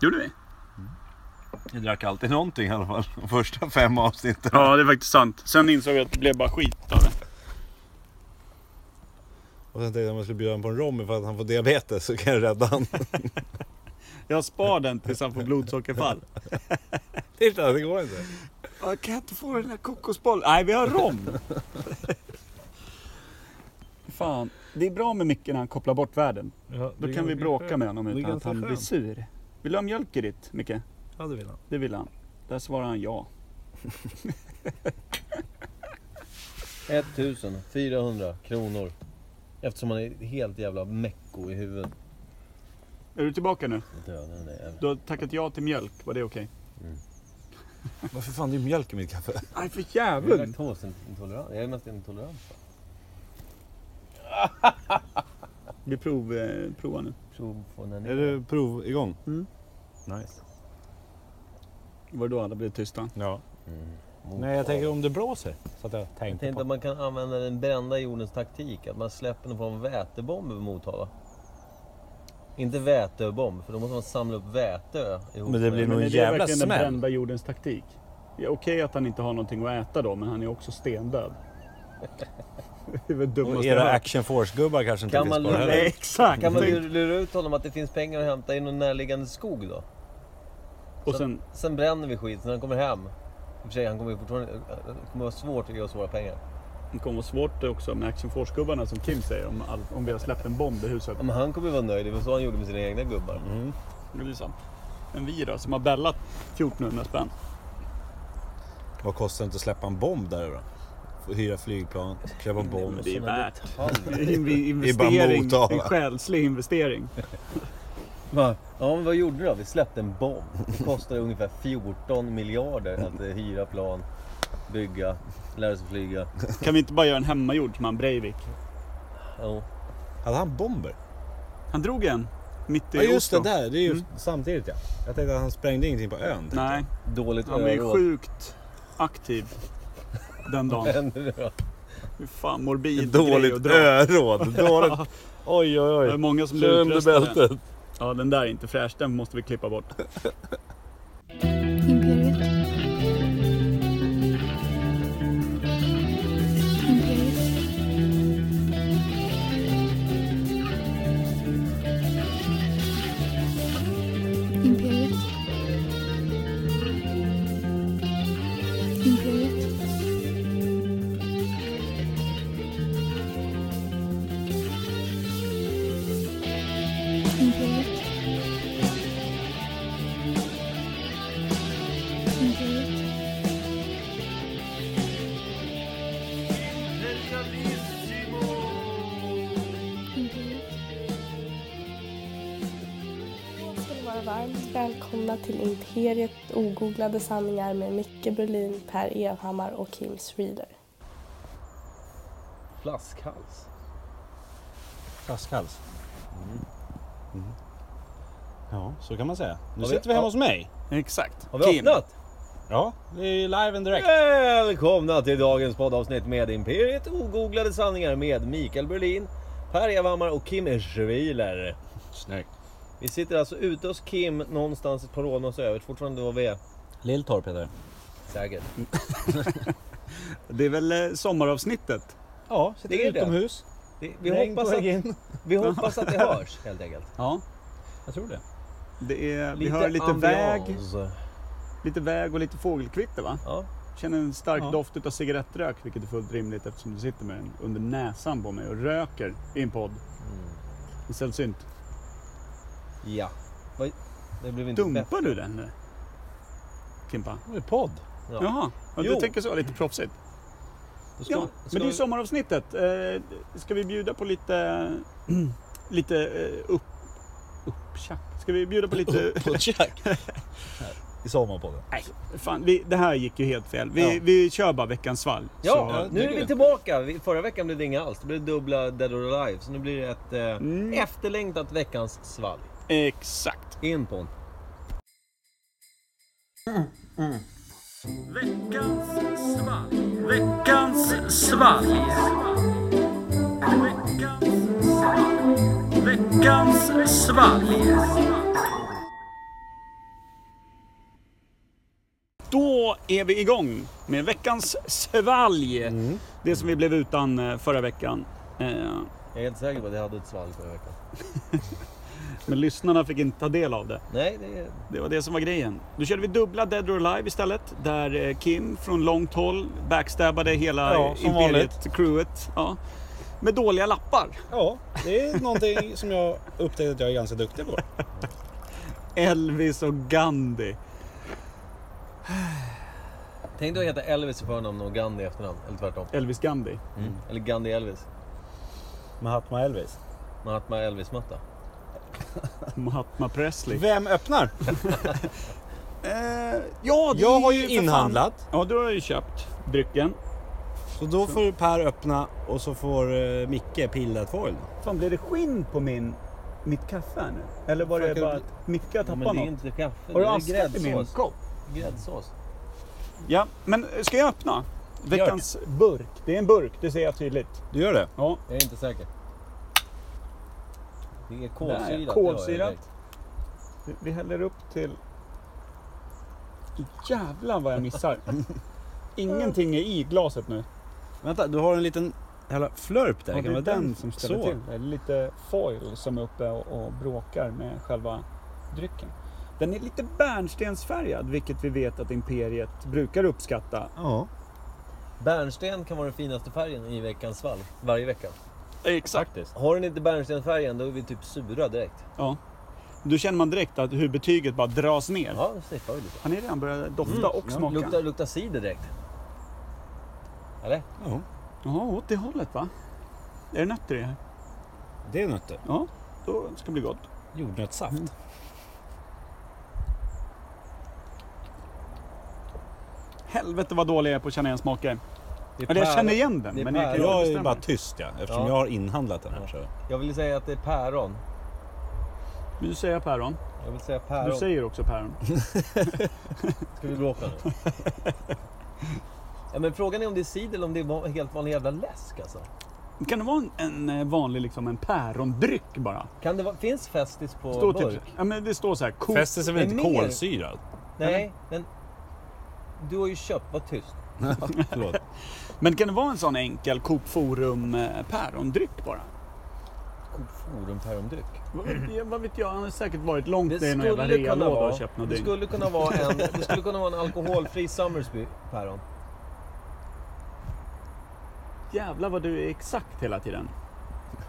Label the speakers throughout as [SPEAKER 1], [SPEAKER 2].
[SPEAKER 1] Gjorde vi?
[SPEAKER 2] Jag drack alltid någonting i alla fall. De första fem avsnitten.
[SPEAKER 1] Ja, det är faktiskt sant. Sen insåg jag att det blev bara skit av det.
[SPEAKER 3] Och sen tänkte jag om jag skulle bjuda honom på en rom för att han får diabetes så kan jag rädda honom.
[SPEAKER 1] Jag spar den tills han får blodsockerfall.
[SPEAKER 3] Titta, det går inte.
[SPEAKER 2] Jag kan inte få den där kokosbollen. Nej, vi har rom.
[SPEAKER 1] Fan. Det är bra med Micke när han kopplar bort världen. Då kan vi bråka med honom
[SPEAKER 3] Det är
[SPEAKER 1] utan att
[SPEAKER 3] ganska
[SPEAKER 1] han blir
[SPEAKER 3] skönt.
[SPEAKER 1] sur. Vill du ha mjölk i ditt, Micke?
[SPEAKER 3] Ja, det vill han.
[SPEAKER 1] Det vill han. Där svarar han ja.
[SPEAKER 4] 1400 kronor. Eftersom man är helt jävla mecko i huvudet.
[SPEAKER 1] Är du tillbaka nu?
[SPEAKER 4] Döden är jävla-
[SPEAKER 1] Du har tackat ja till mjölk. Var det okej?
[SPEAKER 3] Varför fan, det är mjölk i mitt kaffe.
[SPEAKER 1] Nej, för
[SPEAKER 4] Jag är
[SPEAKER 1] jäveln!
[SPEAKER 4] laktosintolerant. Jag är nästan intolerant.
[SPEAKER 1] Vi prov, eh, provar nu.
[SPEAKER 4] Prov på när
[SPEAKER 3] Är det prov igång?
[SPEAKER 1] Mm.
[SPEAKER 3] Nice.
[SPEAKER 1] Var det då alla blev tysta?
[SPEAKER 3] Ja.
[SPEAKER 4] Mm.
[SPEAKER 3] Nej, jag tänker om det blåser. Så att jag
[SPEAKER 4] Jag
[SPEAKER 3] tänkte
[SPEAKER 4] tänkte att
[SPEAKER 3] på.
[SPEAKER 4] man kan använda den brända jordens taktik. Att man släpper någon form av vätebomb över Motala. Inte vätebomb, för då måste man samla upp väte ihop
[SPEAKER 3] Men det
[SPEAKER 4] med-
[SPEAKER 3] blir nog-
[SPEAKER 1] Men
[SPEAKER 3] en
[SPEAKER 1] är det
[SPEAKER 3] jävla
[SPEAKER 1] verkligen den
[SPEAKER 3] smäll.
[SPEAKER 1] brända jordens taktik? Det är okej att han inte har någonting att äta då, men han är också stendöd. Det är väl det
[SPEAKER 3] Och
[SPEAKER 1] dummaste
[SPEAKER 3] era
[SPEAKER 1] hört.
[SPEAKER 3] Action Force-gubbar kanske inte
[SPEAKER 4] Kan
[SPEAKER 3] finns
[SPEAKER 4] man
[SPEAKER 3] kvar
[SPEAKER 4] lura-
[SPEAKER 1] Nej,
[SPEAKER 3] heller.
[SPEAKER 1] exakt!
[SPEAKER 4] Kan man ju lura ut honom att det finns pengar att hämta i någon närliggande skog då?
[SPEAKER 1] Och sen,
[SPEAKER 4] Sen bränner vi skiten när han kommer hem. I och för sig, han kommer ju fortfarande... Det kommer vara svårt att ge oss våra pengar.
[SPEAKER 1] det kommer vara svårt också med Action Force-gubbarna som Kim säger, om, all, om vi har släppt en bomb i huset.
[SPEAKER 4] Ja, Men han kommer ju vara nöjd. Det var så han gjorde med sina egna gubbar.
[SPEAKER 1] Det blir sant. Men vi då, som har bällat 1400 spänn.
[SPEAKER 3] Vad kostar det inte att släppa en bomb där då? Få Hyra flygplan, köpa en bomb.
[SPEAKER 1] Men det är
[SPEAKER 4] Såna
[SPEAKER 1] värt.
[SPEAKER 4] detaljer.
[SPEAKER 1] Invi-
[SPEAKER 3] Det är bara
[SPEAKER 1] investering,
[SPEAKER 3] Motala.
[SPEAKER 1] en själslig investering.
[SPEAKER 4] Va? Ja, men vad gjorde du då? Vi släppte en bomb. Det kostade ungefär 14 miljarder att eh, hyra plan, bygga, lära sig flyga.
[SPEAKER 1] Kan vi inte bara göra en hemmagjord som han Breivik?
[SPEAKER 4] Jo.
[SPEAKER 3] Hade han bomber?
[SPEAKER 1] Han drog en mitt i
[SPEAKER 3] Ja just det,
[SPEAKER 1] Oslo.
[SPEAKER 3] där. Det är ju samtidigt ja. Jag tänkte att han sprängde ingenting på ön.
[SPEAKER 1] Nej,
[SPEAKER 4] dåligt
[SPEAKER 1] han var ju
[SPEAKER 4] öråd.
[SPEAKER 1] sjukt aktiv den dagen.
[SPEAKER 4] Hände det då?
[SPEAKER 1] Fy Fan, morbid grej att
[SPEAKER 3] Dåligt
[SPEAKER 1] dra.
[SPEAKER 3] öråd. Dåligt. Oj, oj,
[SPEAKER 1] Det är
[SPEAKER 3] oj.
[SPEAKER 1] många som
[SPEAKER 3] Kör
[SPEAKER 1] blir
[SPEAKER 3] under
[SPEAKER 1] utröstade.
[SPEAKER 3] bältet.
[SPEAKER 1] Ja, den där är inte fräsch. Den måste vi klippa bort.
[SPEAKER 5] Imperiet. Imperiet. Imperiet. Imperiet. Imperiet. Imperiet. Imperiet.
[SPEAKER 6] Då ska ni vara varmt välkomna till Imperiet ogooglade sanningar med Micke Berlin, Per Evhammar och Kim Reader.
[SPEAKER 4] Flaskhals.
[SPEAKER 3] Flaskhals. Mm. Ja, så kan man säga. Nu
[SPEAKER 4] Har vi-
[SPEAKER 3] sitter vi hemma
[SPEAKER 4] ja.
[SPEAKER 3] hos mig.
[SPEAKER 1] Exakt.
[SPEAKER 4] Har vi
[SPEAKER 1] Kim.
[SPEAKER 4] öppnat?
[SPEAKER 3] Ja, det är ju live and direct.
[SPEAKER 4] Välkomna till dagens poddavsnitt med Imperiet ogooglade sanningar med Mikael Berlin, Per Evhammar och Kim Schwiler.
[SPEAKER 3] Snyggt.
[SPEAKER 4] Vi sitter alltså ute hos Kim någonstans i Parånas över. Fortfarande var vi är.
[SPEAKER 3] Lilltorp heter det.
[SPEAKER 4] Säkert.
[SPEAKER 1] Det är väl eh, sommaravsnittet.
[SPEAKER 3] Ja,
[SPEAKER 4] Det är
[SPEAKER 3] sitter
[SPEAKER 4] det.
[SPEAKER 3] utomhus.
[SPEAKER 4] Det, vi,
[SPEAKER 3] Regn på
[SPEAKER 4] hoppas att,
[SPEAKER 3] väg in.
[SPEAKER 4] vi hoppas att det hörs helt enkelt.
[SPEAKER 1] Ja.
[SPEAKER 3] Jag tror det.
[SPEAKER 1] Det är, vi hör lite väg,
[SPEAKER 4] ambiance.
[SPEAKER 1] lite väg och lite fågelkvitter va?
[SPEAKER 4] Ja.
[SPEAKER 1] Känner en stark
[SPEAKER 3] Ja.
[SPEAKER 1] doft utav cigarettrök, vilket är fullt rimligt eftersom du sitter med den under näsan på mig och röker i en podd.
[SPEAKER 4] Mm.
[SPEAKER 1] Det är sällsynt.
[SPEAKER 4] ja. Vad- Det blev inte bättre.
[SPEAKER 1] Dumpar du den nu? Kimpa?
[SPEAKER 3] Det är podd.
[SPEAKER 4] Ja.
[SPEAKER 1] Jaha, ja, du
[SPEAKER 4] Jo.
[SPEAKER 1] tänker så, lite proffsigt.
[SPEAKER 4] Alltså, Då ska-
[SPEAKER 1] Ja,
[SPEAKER 4] ska
[SPEAKER 1] men det är
[SPEAKER 4] vi-
[SPEAKER 1] sommaravsnittet. Eh, ska vi bjuda på lite, lite eh, upp, upptjack? Ska vi bjuda på lite...
[SPEAKER 3] Poddtjack. I sommarpodden.
[SPEAKER 1] Nej, fan, vi, det här gick ju helt fel. Vi,
[SPEAKER 3] Ja.
[SPEAKER 1] vi kör bara veckans svalg.
[SPEAKER 4] Ja,
[SPEAKER 3] Så-
[SPEAKER 4] nu
[SPEAKER 3] tycker
[SPEAKER 4] är vi
[SPEAKER 3] jag.
[SPEAKER 4] tillbaka. Vi- Förra veckan blev det inga alls. Det blev dubbla Dead or Alive. Så nu blir det ett eh,
[SPEAKER 1] Mm.
[SPEAKER 4] efterlängtat veckans svalg.
[SPEAKER 1] Exakt.
[SPEAKER 4] In på en.
[SPEAKER 1] Veckans svalg. Veckans svalg. Veckans svalg. Veckans svalg. Då är vi igång med veckans svalg.
[SPEAKER 4] Mm.
[SPEAKER 1] Det som vi blev utan eh, förra veckan. Eh,
[SPEAKER 4] Jag är helt säker på att jag hade ett svalg förra veckan.
[SPEAKER 1] Men lyssnarna fick inte ta del av det.
[SPEAKER 4] Nej, det är...
[SPEAKER 1] Det var det som var grejen. Då körde vi dubbla Dead or Alive istället. Där eh, Kim från långt håll backstabbade hela
[SPEAKER 3] Ja, som vanligt.
[SPEAKER 1] Imperiet-crewet. Ja. Med dåliga lappar.
[SPEAKER 3] Ja, det är någonting som jag upptäckte att jag är ganska duktig på.
[SPEAKER 1] Elvis och Gandhi.
[SPEAKER 4] Tänk dig att heta Elvis i förnamn och Gandhi i efternamn. Eller tvärtom. Mm.
[SPEAKER 1] Elvis Gandhi.
[SPEAKER 4] Eller Gandhi Elvis.
[SPEAKER 3] Mahatma Elvis.
[SPEAKER 4] Mahatma Elvis-matta.
[SPEAKER 1] Mahatma Presley.
[SPEAKER 3] Vem öppnar?
[SPEAKER 1] Eh, ja, det
[SPEAKER 3] Jag
[SPEAKER 1] är
[SPEAKER 3] har ju
[SPEAKER 1] för fan-
[SPEAKER 3] inhandlat.
[SPEAKER 1] Ja, du har ju köpt drycken.
[SPEAKER 3] Så då får Per öppna och så får eh, Micke pilla foil.
[SPEAKER 1] Fan, blev det skinn på min, mitt kaffe här nu? Eller var
[SPEAKER 4] Fan,
[SPEAKER 1] det
[SPEAKER 4] kan
[SPEAKER 1] bara
[SPEAKER 4] du-
[SPEAKER 1] att Micke har
[SPEAKER 4] Men
[SPEAKER 1] tappat
[SPEAKER 4] det är
[SPEAKER 1] något?
[SPEAKER 4] inte kaffe,
[SPEAKER 1] Har du
[SPEAKER 4] det är
[SPEAKER 1] askat i min
[SPEAKER 4] gräddsås.
[SPEAKER 1] kopp?
[SPEAKER 4] Gräddsås.
[SPEAKER 1] Ja, men ska jag öppna?
[SPEAKER 3] det.
[SPEAKER 1] Veckans burk. Det är en burk, det ser jag tydligt.
[SPEAKER 3] Du gör det?
[SPEAKER 1] Ja,
[SPEAKER 4] Jag är inte säker. Det är kolsyrat.
[SPEAKER 1] Nej,
[SPEAKER 4] det har jag
[SPEAKER 1] kolsyrat.
[SPEAKER 4] direkt.
[SPEAKER 1] vi- vi häller upp till... Jävlar vad jag missar. Ingenting är i glaset nu.
[SPEAKER 3] Vänta, du har en liten jävla flörp där.
[SPEAKER 1] Ja,
[SPEAKER 3] kan vara den
[SPEAKER 1] som ställer
[SPEAKER 3] så.
[SPEAKER 1] till det. är Lite foil som är uppe och, och bråkar med själva drycken. Den är lite bärnstensfärgad, vilket vi vet att Imperiet brukar uppskatta.
[SPEAKER 3] Ja.
[SPEAKER 4] Bärnsten kan vara den finaste färgen i veckans svalg. Varje vecka.
[SPEAKER 1] Exakt.
[SPEAKER 4] Har den inte bärnstenfärgen då är vi typ sura direkt.
[SPEAKER 1] Ja. Då känner man direkt att hur betyget bara dras ner. Mm,
[SPEAKER 4] Ja, det sniffar vi lite. Mm.
[SPEAKER 1] Han är redan börjat dofta och smaka.
[SPEAKER 4] Luktar, luktar cider direkt. Eller?
[SPEAKER 3] ja.
[SPEAKER 1] Ja, åt det hållet va? Är det nötter i det här?
[SPEAKER 3] Det är nötter.
[SPEAKER 1] Ja, då ska det bli gott.
[SPEAKER 3] Jordnötssaft.
[SPEAKER 1] Helvete vad dålig jag är på att känna igen smaker.
[SPEAKER 4] Det är
[SPEAKER 1] Eller jag
[SPEAKER 4] päron.
[SPEAKER 1] känner igen den,
[SPEAKER 4] Det är
[SPEAKER 1] men jag kan
[SPEAKER 4] päron.
[SPEAKER 1] ju
[SPEAKER 3] Jag är
[SPEAKER 1] bestämma.
[SPEAKER 3] bara tyst ja, eftersom
[SPEAKER 4] Ja.
[SPEAKER 3] jag har inhandlat den här. Så.
[SPEAKER 4] Jag vill säga att det är päron.
[SPEAKER 1] Nu säger jag päron.
[SPEAKER 4] Jag vill säga
[SPEAKER 1] Du
[SPEAKER 4] päron.
[SPEAKER 1] säger också päron.
[SPEAKER 4] Ska vi bråka nu? ja, men frågan är om det är cider eller om det är va- helt vanlig jävla läsk alltså.
[SPEAKER 1] Kan det vara en, en eh, vanlig liksom, en pärondryck bara?
[SPEAKER 4] Kan det vara, finns Festis på
[SPEAKER 1] Står
[SPEAKER 4] burk?
[SPEAKER 1] typ, ja, men det står så här, ko-
[SPEAKER 3] Festis är väl
[SPEAKER 4] Det är
[SPEAKER 3] inte
[SPEAKER 4] mer.
[SPEAKER 3] kolsyrad?
[SPEAKER 4] Nej, men du har ju köpt, var tyst.
[SPEAKER 3] Förlåt.
[SPEAKER 1] men kan det vara en sån enkel Coop Forum eh, pärondryck bara?
[SPEAKER 4] Coop Forum pärondryck.
[SPEAKER 1] Vad vet jag, vad vet jag, han har säkert varit långt
[SPEAKER 4] Det
[SPEAKER 1] ner i någon jävla
[SPEAKER 4] skulle, kunna
[SPEAKER 1] realåda och
[SPEAKER 4] vara,
[SPEAKER 1] köpt något
[SPEAKER 4] det,
[SPEAKER 1] dygn.
[SPEAKER 4] skulle kunna vara en, det skulle kunna vara en alkoholfri Summersby päron.
[SPEAKER 1] Jävlar vad du är exakt hela tiden.
[SPEAKER 4] Fast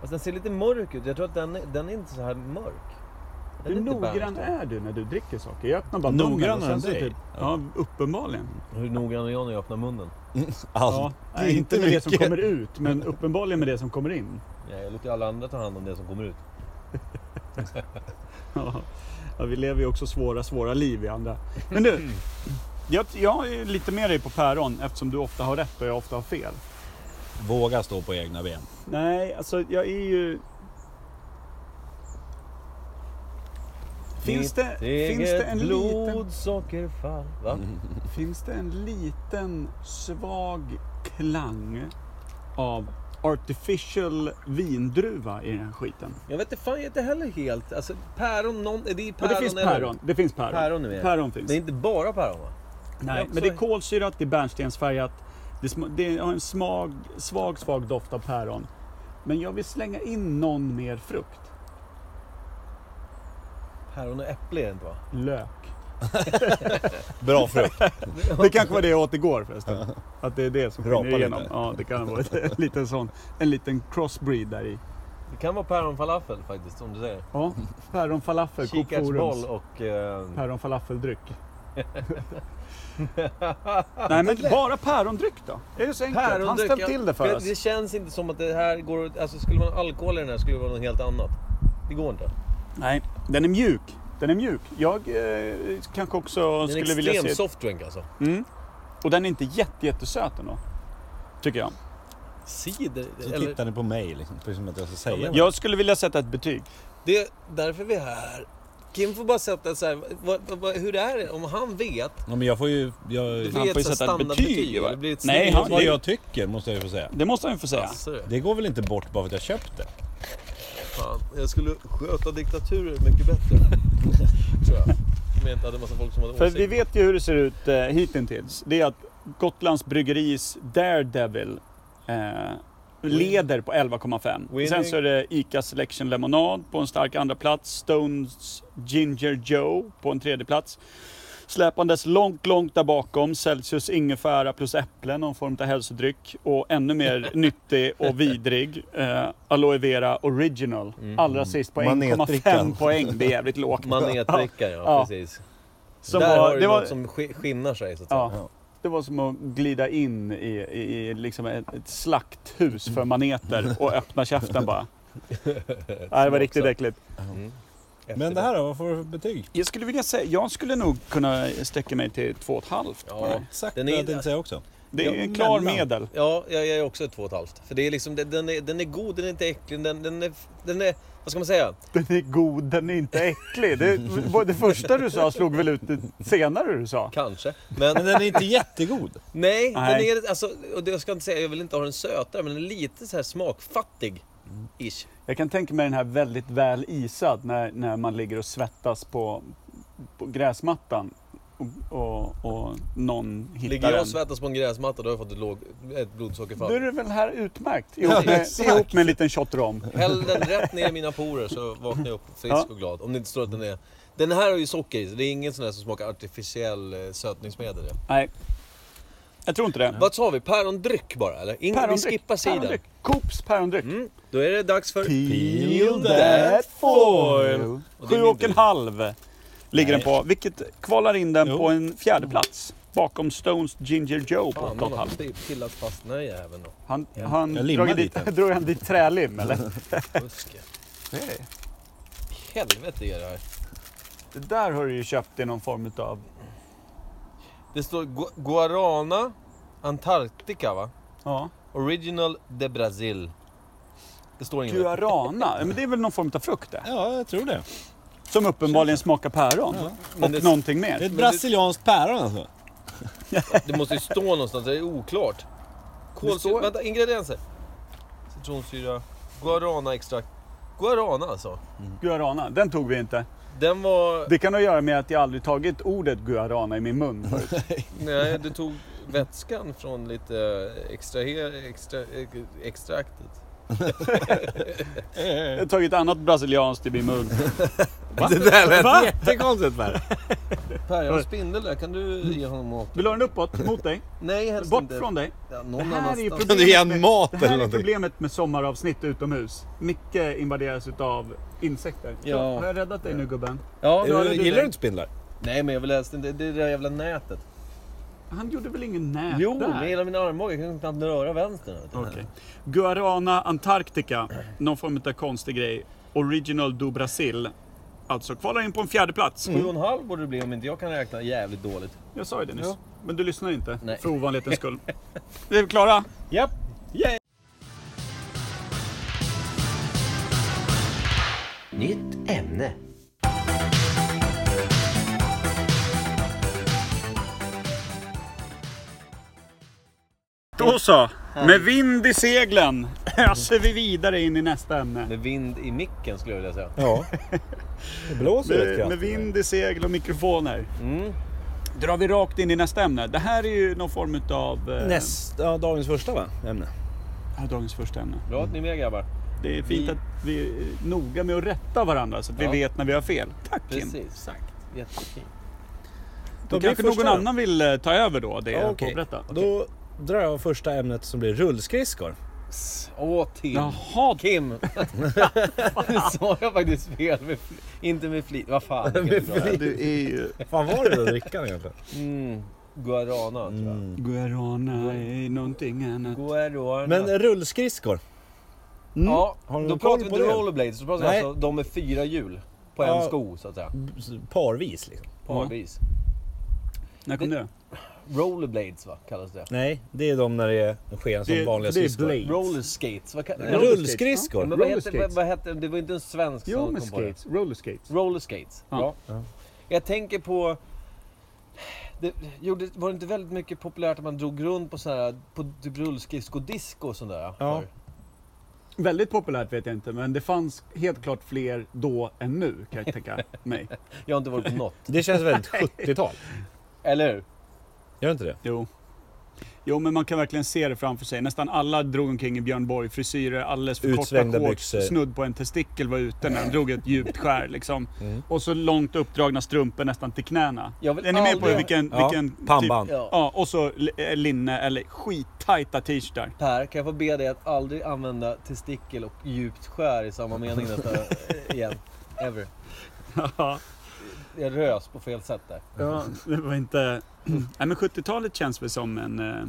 [SPEAKER 4] Alltså, den ser lite mörk ut. Jag tror att den, är- den är inte så här mörk. Den
[SPEAKER 1] Hur
[SPEAKER 4] lite
[SPEAKER 1] noggrann
[SPEAKER 4] Bernstein.
[SPEAKER 1] är du när du dricker saker? Jag öppnar bara
[SPEAKER 3] Noggrannare
[SPEAKER 1] munnen och sen
[SPEAKER 3] än
[SPEAKER 1] så
[SPEAKER 3] dig?
[SPEAKER 1] Typ, ja, uppenbarligen.
[SPEAKER 4] Hur noggrann är jag när jag öppnar munnen? Alltså,
[SPEAKER 1] Ja, nej, inte med det som kommer ut, men uppenbarligen med det som kommer in.
[SPEAKER 4] Nej, jag låter ju alla andra ta hand om det som kommer ut.
[SPEAKER 1] Ja, Ja, vi lever ju också svåra, svåra liv i andra. Men du,
[SPEAKER 4] Mm.
[SPEAKER 1] jag, jag är ju lite med dig på päron eftersom du ofta har rätt och jag ofta har fel.
[SPEAKER 3] Våga stå på egna ben.
[SPEAKER 1] Nej, alltså jag är ju... Finns det,
[SPEAKER 4] Mitt eget
[SPEAKER 1] finns det en liten Mm.
[SPEAKER 4] blodsockerfall. Va?
[SPEAKER 1] Finns det en liten svag klang av artificial vindruva i den här skiten?
[SPEAKER 4] Jag vet inte fan, jag är inte heller helt... Alltså päron, någon, det är
[SPEAKER 1] Men
[SPEAKER 4] päron
[SPEAKER 1] det finns
[SPEAKER 4] eller-
[SPEAKER 1] päron. Det finns päron.
[SPEAKER 4] Päron är med.
[SPEAKER 1] Päron finns.
[SPEAKER 4] Det är inte bara päron va?
[SPEAKER 1] Nej,
[SPEAKER 4] också-
[SPEAKER 1] men det är kolsyrat, det är bärnstensfärgat. Det, sm- det har en smag, svag, svag doft av päron. Men jag vill slänga in någon mer frukt.
[SPEAKER 4] Päron och äpple är det inte va?
[SPEAKER 1] Lök.
[SPEAKER 3] Bra frukt.
[SPEAKER 1] Det kanske var det jag åt igår förresten. Att det är det som
[SPEAKER 3] Rapa
[SPEAKER 1] skiner
[SPEAKER 3] lite.
[SPEAKER 1] igenom. Ja, det kan vara en liten sån. En liten crossbreed där i.
[SPEAKER 4] Det kan vara päron falafel faktiskt, som du säger.
[SPEAKER 1] Ja, päron falafel, Coop Forums.
[SPEAKER 4] Kikärtsboll och... Eh,
[SPEAKER 1] Päron falafeldryck. Nej men bara pärondryck då? Är det så enkelt? Han
[SPEAKER 4] pärondryck,
[SPEAKER 1] ställde
[SPEAKER 4] jag-
[SPEAKER 1] till det för oss.
[SPEAKER 4] Det känns inte som att det här går... att- Alltså skulle man ha alkohol i den här skulle det vara något helt annat. Det går inte.
[SPEAKER 1] Nej, den är mjuk. Den är mjuk. Jag eh, kanske också
[SPEAKER 4] Det är en
[SPEAKER 1] skulle vilja
[SPEAKER 4] extrem
[SPEAKER 1] se...
[SPEAKER 4] softdrink alltså.
[SPEAKER 1] Mm. Och den är inte jätte, jättesöt ändå. Tycker jag.
[SPEAKER 4] Cider?
[SPEAKER 3] Så
[SPEAKER 4] eller,
[SPEAKER 3] tittar ni på mig liksom, precis som att jag ska säga
[SPEAKER 4] Ja, men-
[SPEAKER 3] något.
[SPEAKER 1] Jag skulle vilja sätta ett betyg.
[SPEAKER 4] Det är därför vi är här. Kim får bara sätta så här, vad, vad- vad, hur är det? Om han vet.
[SPEAKER 3] Ja, men jag får ju... Jag,
[SPEAKER 4] Du
[SPEAKER 3] fan,
[SPEAKER 4] får ge
[SPEAKER 1] får
[SPEAKER 4] ett
[SPEAKER 1] ju
[SPEAKER 4] så här
[SPEAKER 1] sätta ett betyg,
[SPEAKER 4] standardbetyg.
[SPEAKER 1] va?
[SPEAKER 4] Det blir ett
[SPEAKER 1] Nej,
[SPEAKER 4] snyggt
[SPEAKER 1] han-
[SPEAKER 4] betyg.
[SPEAKER 3] vad jag tycker måste jag ju få säga.
[SPEAKER 1] Det måste han ju få säga.
[SPEAKER 4] Asså,
[SPEAKER 3] Det går väl inte bort bara för att jag köpt det?
[SPEAKER 4] fan. Jag skulle sköta diktaturer mycket bättre. tror jag. Med en att det hade en massa folk som hade
[SPEAKER 1] För
[SPEAKER 4] åsikter.
[SPEAKER 1] vi vet ju hur det ser ut eh, hittills. Det är att Gotlands Bryggeris Daredevil eh, leder på 11,5.
[SPEAKER 4] Winning.
[SPEAKER 1] Sen så är det ICA Selection Lemonade på en stark andra plats. Stones Ginger Joe på en tredje plats. Släpandes långt, långt där bakom. Celsius ingefära plus äpple, någon form av hälsodryck. Och ännu mer nyttig och vidrig. Eh, aloe Vera Original. Allra sist på
[SPEAKER 3] Manetdrickan.
[SPEAKER 1] 1,5 poäng. Det är jävligt lågt.
[SPEAKER 4] Manetdricka, ja,
[SPEAKER 1] Ja.
[SPEAKER 4] precis.
[SPEAKER 1] Som
[SPEAKER 4] Där
[SPEAKER 1] var-
[SPEAKER 4] har du
[SPEAKER 1] det var-
[SPEAKER 4] något som sk- skinnar sig så att säga.
[SPEAKER 1] Ja. Det var som att glida in i, i, i liksom ett, ett slakthus för maneter och öppna käften bara. Nej, det var riktigt äckligt.
[SPEAKER 4] Mm.
[SPEAKER 3] Men det här då, vad får du för betyg?
[SPEAKER 1] Jag skulle vilja säga, jag skulle nog kunna sträcka mig till två och ett halvt.
[SPEAKER 4] Ja.
[SPEAKER 3] Exakt
[SPEAKER 4] Den
[SPEAKER 3] det
[SPEAKER 4] är-
[SPEAKER 3] jag tänkte säga också.
[SPEAKER 1] Det är
[SPEAKER 3] Ja,
[SPEAKER 1] en klar
[SPEAKER 3] mellan.
[SPEAKER 1] medel.
[SPEAKER 4] Ja, jag jag är också ett två och ett halvt. För det är liksom, den- den är, den är god, den är inte äcklig, den, den, är, den är... Vad ska man säga?
[SPEAKER 1] Den är god, den är inte äcklig. Det, det första du sa slog väl ut det senare du sa.
[SPEAKER 4] Kanske. Men
[SPEAKER 3] Men den är inte jättegod.
[SPEAKER 4] nej,
[SPEAKER 1] Nej.
[SPEAKER 4] den är... Alltså, och det, jag ska inte säga, jag vill inte ha den sötare, men den är lite så här smakfattig. Ish.
[SPEAKER 1] Jag kan tänka mig den här väldigt väl isad när, när man ligger och svettas på, på gräsmattan och, och, och någon hittar
[SPEAKER 4] Ligger jag
[SPEAKER 1] den.
[SPEAKER 4] och svettas på en gräsmatta, då har jag fått ett, låg, ett blodsockerfall.
[SPEAKER 1] Då är det väl här utmärkt.
[SPEAKER 3] Ja,
[SPEAKER 1] Ihop med,
[SPEAKER 3] exakt.
[SPEAKER 1] ihop med en liten shot rom.
[SPEAKER 4] Häll den rätt ner i mina porer så vaknar jag upp frisk
[SPEAKER 1] Ja.
[SPEAKER 4] och glad. Om det inte står att den är... Den här har ju socker i sig. Det är ingen sån här som smakar artificiell eh, sötningsmedel. Ja.
[SPEAKER 1] Nej. Jag tror inte det.
[SPEAKER 4] Vad sa vi? Pärondryck bara eller? Ingen, Vi skippar sidan.
[SPEAKER 1] Pärondryck. Coops pärondryck.
[SPEAKER 4] Mm, då är det dags för...
[SPEAKER 1] Peel
[SPEAKER 4] that
[SPEAKER 1] foil.
[SPEAKER 4] Och
[SPEAKER 1] Sju
[SPEAKER 4] det är min
[SPEAKER 1] och en
[SPEAKER 4] tur.
[SPEAKER 1] halv ligger den på. Vilket kvalar in den
[SPEAKER 3] Jo.
[SPEAKER 1] på en fjärde plats. Bakom Stones Ginger Joe på
[SPEAKER 4] Fan,
[SPEAKER 1] ett och
[SPEAKER 4] någon
[SPEAKER 1] ett
[SPEAKER 4] har
[SPEAKER 1] halvt.
[SPEAKER 4] pi- pillat fast den här jäveln då.
[SPEAKER 1] Han, han
[SPEAKER 3] Jag limmar
[SPEAKER 1] drog, dit,
[SPEAKER 3] dit den.
[SPEAKER 1] drog han dit trälim eller?
[SPEAKER 4] Buske. Helvete är det här.
[SPEAKER 1] Det där har du ju köpt i någon form av...
[SPEAKER 4] Det står Gu- Guarana Antarctica va?
[SPEAKER 1] Ja.
[SPEAKER 4] Original de Brazil. Det står inget.
[SPEAKER 1] Guarana. Men det är väl någon form av frukt det?
[SPEAKER 3] Ja, jag tror det.
[SPEAKER 1] Som uppenbarligen smakar päron. Och
[SPEAKER 4] Men det-
[SPEAKER 1] någonting
[SPEAKER 3] Det är
[SPEAKER 1] mer.
[SPEAKER 3] ett brasilianskt päron alltså.
[SPEAKER 4] Det måste ju stå någonstans, det är oklart. Kolsyra,
[SPEAKER 1] står-
[SPEAKER 4] vänta, ingredienser. Citronsyra, guaranaextrakt. Guarana alltså.
[SPEAKER 1] Guarana. Den tog vi inte.
[SPEAKER 4] Den var...
[SPEAKER 1] Det kan ha att göra med att jag aldrig tagit ordet guarana i min mun förut.
[SPEAKER 4] Nej, du tog vätskan från lite extraher... Extra, extraktet.
[SPEAKER 3] Eh,
[SPEAKER 1] Jag har tagit annat brasilianskt i min mun.
[SPEAKER 3] Det där lät jättekonstigt Per.
[SPEAKER 4] Per, jag har en spindel där. Kan du ge honom mat?
[SPEAKER 1] Vill du ha den uppåt, mot dig,
[SPEAKER 4] Nej, helst
[SPEAKER 1] bort
[SPEAKER 4] inte.
[SPEAKER 1] från dig?
[SPEAKER 4] Ja,
[SPEAKER 1] Det
[SPEAKER 4] någon
[SPEAKER 1] här är ju
[SPEAKER 4] annanstans.
[SPEAKER 3] Kan du ge en mat
[SPEAKER 1] det
[SPEAKER 3] eller
[SPEAKER 1] här är
[SPEAKER 3] någonting?
[SPEAKER 1] problemet med sommaravsnitt utomhus. Micke invaderas utav insekter.
[SPEAKER 4] Ja.
[SPEAKER 1] Så, Har jag räddat dig nu gubben?
[SPEAKER 4] Ja,
[SPEAKER 1] Är
[SPEAKER 4] nu-
[SPEAKER 1] det-
[SPEAKER 3] Eh, Gillar du inte spindlar?
[SPEAKER 4] Nej, men jag vill helst inte... Det är det där jävla nätet.
[SPEAKER 1] Han gjorde väl ingen nät
[SPEAKER 4] Jo,
[SPEAKER 1] där?
[SPEAKER 4] med hela min armbåge. Jag kan knappt röra vänstern. vet du.
[SPEAKER 1] Okej. Guarana Antarctica, någon form av konstig grej. Original do Brasil. Alltså kvalar in på en fjärde plats.
[SPEAKER 4] Sju och en halv borde det bli om inte jag kan räkna jävligt dåligt.
[SPEAKER 1] Jag sa ju det nyss. Men du lyssnar inte,
[SPEAKER 4] Nej.
[SPEAKER 1] för ovanlighetens skull. är vi klara?
[SPEAKER 4] Japp!
[SPEAKER 7] Nytt ämne.
[SPEAKER 1] Då så, med vind i seglen
[SPEAKER 4] Mm.
[SPEAKER 1] öser vi vidare in i nästa ämne.
[SPEAKER 4] Med vind i micken skulle jag vilja säga.
[SPEAKER 3] Ja. Det blåser rätt
[SPEAKER 1] Med, med
[SPEAKER 3] kraftigt.
[SPEAKER 1] vind i segel och mikrofoner.
[SPEAKER 4] Mm.
[SPEAKER 1] Drar vi rakt in i nästa ämne. Det här är ju någon form av eh,
[SPEAKER 3] Nästa, dagens första va? Ämne.
[SPEAKER 1] ja, dagens första ämne.
[SPEAKER 4] Bra att ni är med grabbar.
[SPEAKER 1] Det är fint
[SPEAKER 4] Vi-
[SPEAKER 1] att vi är noga med att rätta varandra så att
[SPEAKER 4] Ja.
[SPEAKER 1] vi vet när vi har fel. Tack Kim!
[SPEAKER 4] Precis. Exakt. Jättefint.
[SPEAKER 1] Då
[SPEAKER 3] blir
[SPEAKER 1] kanske någon
[SPEAKER 3] första då.
[SPEAKER 1] annan vill eh, ta över då det jag
[SPEAKER 3] Okej.
[SPEAKER 1] påberättar.
[SPEAKER 3] Då drar jag första ämnet som blir rullskridskor.
[SPEAKER 4] Åh Tim.
[SPEAKER 1] Jaha,
[SPEAKER 4] Kim! nu sa jag faktiskt fel. Med fli- inte med flit. Vad fan. vilken bra.
[SPEAKER 1] du är ju...
[SPEAKER 3] Fan var det då drickan egentligen?
[SPEAKER 4] Mm. Guarana tror jag.
[SPEAKER 3] Mm.
[SPEAKER 1] Guarana är någonting annat.
[SPEAKER 4] Guarana.
[SPEAKER 3] Men rullskridskor.
[SPEAKER 1] Mm.
[SPEAKER 4] ja,
[SPEAKER 3] Har du koll
[SPEAKER 4] då pratar vi
[SPEAKER 3] på
[SPEAKER 4] inte
[SPEAKER 3] det?
[SPEAKER 4] rollerblades. Då pratar vi
[SPEAKER 3] Nej.
[SPEAKER 4] alltså de med fyra hjul. På en
[SPEAKER 3] Ja.
[SPEAKER 4] sko så att säga.
[SPEAKER 3] Parvis liksom.
[SPEAKER 4] Parvis.
[SPEAKER 1] När kom det? alltså,
[SPEAKER 4] Rollerblades va, kallas det.
[SPEAKER 3] Nej, det är de när det är en sken som
[SPEAKER 1] Det,
[SPEAKER 3] vanliga
[SPEAKER 1] det är
[SPEAKER 3] skridskor.
[SPEAKER 1] Blades.
[SPEAKER 4] Rollerskates. Vad, ka-
[SPEAKER 3] Rullskridskor.
[SPEAKER 4] Men vad hette,
[SPEAKER 1] Rollerskates.
[SPEAKER 4] vad, vad hette, det var inte en svensk
[SPEAKER 1] Jo,
[SPEAKER 4] som
[SPEAKER 1] men
[SPEAKER 4] kom på det.
[SPEAKER 1] skates. Roller skates.
[SPEAKER 4] Rollerskates.
[SPEAKER 1] Ja.
[SPEAKER 4] Ja. Jag tänker på... Det, gjorde, var det inte väldigt mycket populärt att man drog runt på sådana här, på typ rullskridsko-disco och sånt där?
[SPEAKER 3] Ja.
[SPEAKER 4] förr?
[SPEAKER 1] Väldigt populärt vet jag inte, men det fanns helt klart fler då än nu kan jag tänka mig.
[SPEAKER 4] Jag har inte varit på något.
[SPEAKER 3] Det känns väldigt 70-tal.
[SPEAKER 4] Eller hur?
[SPEAKER 3] Gör inte det?
[SPEAKER 1] Jo. Jo, men man kan verkligen se det framför sig. Nästan alla drog omkring i Björn Borg-frisyrer, alldeles för
[SPEAKER 3] Utsvängda
[SPEAKER 1] korta shorts,
[SPEAKER 3] byxor.
[SPEAKER 1] snudd på en testikel var ute när de drog ett djupt skär liksom.
[SPEAKER 3] Mm.
[SPEAKER 1] Och så långt uppdragna strumpor nästan till knäna.
[SPEAKER 4] Jag vill
[SPEAKER 1] Är ni med på
[SPEAKER 4] aldrig-
[SPEAKER 1] vilken...
[SPEAKER 3] Ja,
[SPEAKER 1] vilken
[SPEAKER 3] pannband.
[SPEAKER 1] Typ,
[SPEAKER 4] Ja.
[SPEAKER 1] ja, och så li- eh, linne eller skittajta t-shirtar.
[SPEAKER 4] Per, kan jag få be dig att aldrig använda testikel och djupt skär i samma mening nästa igen? Ever.
[SPEAKER 1] Ja.
[SPEAKER 4] Jag rös på fel sätt där.
[SPEAKER 1] Ja, det var inte... Nej men 70-talet känns väl som en... eh,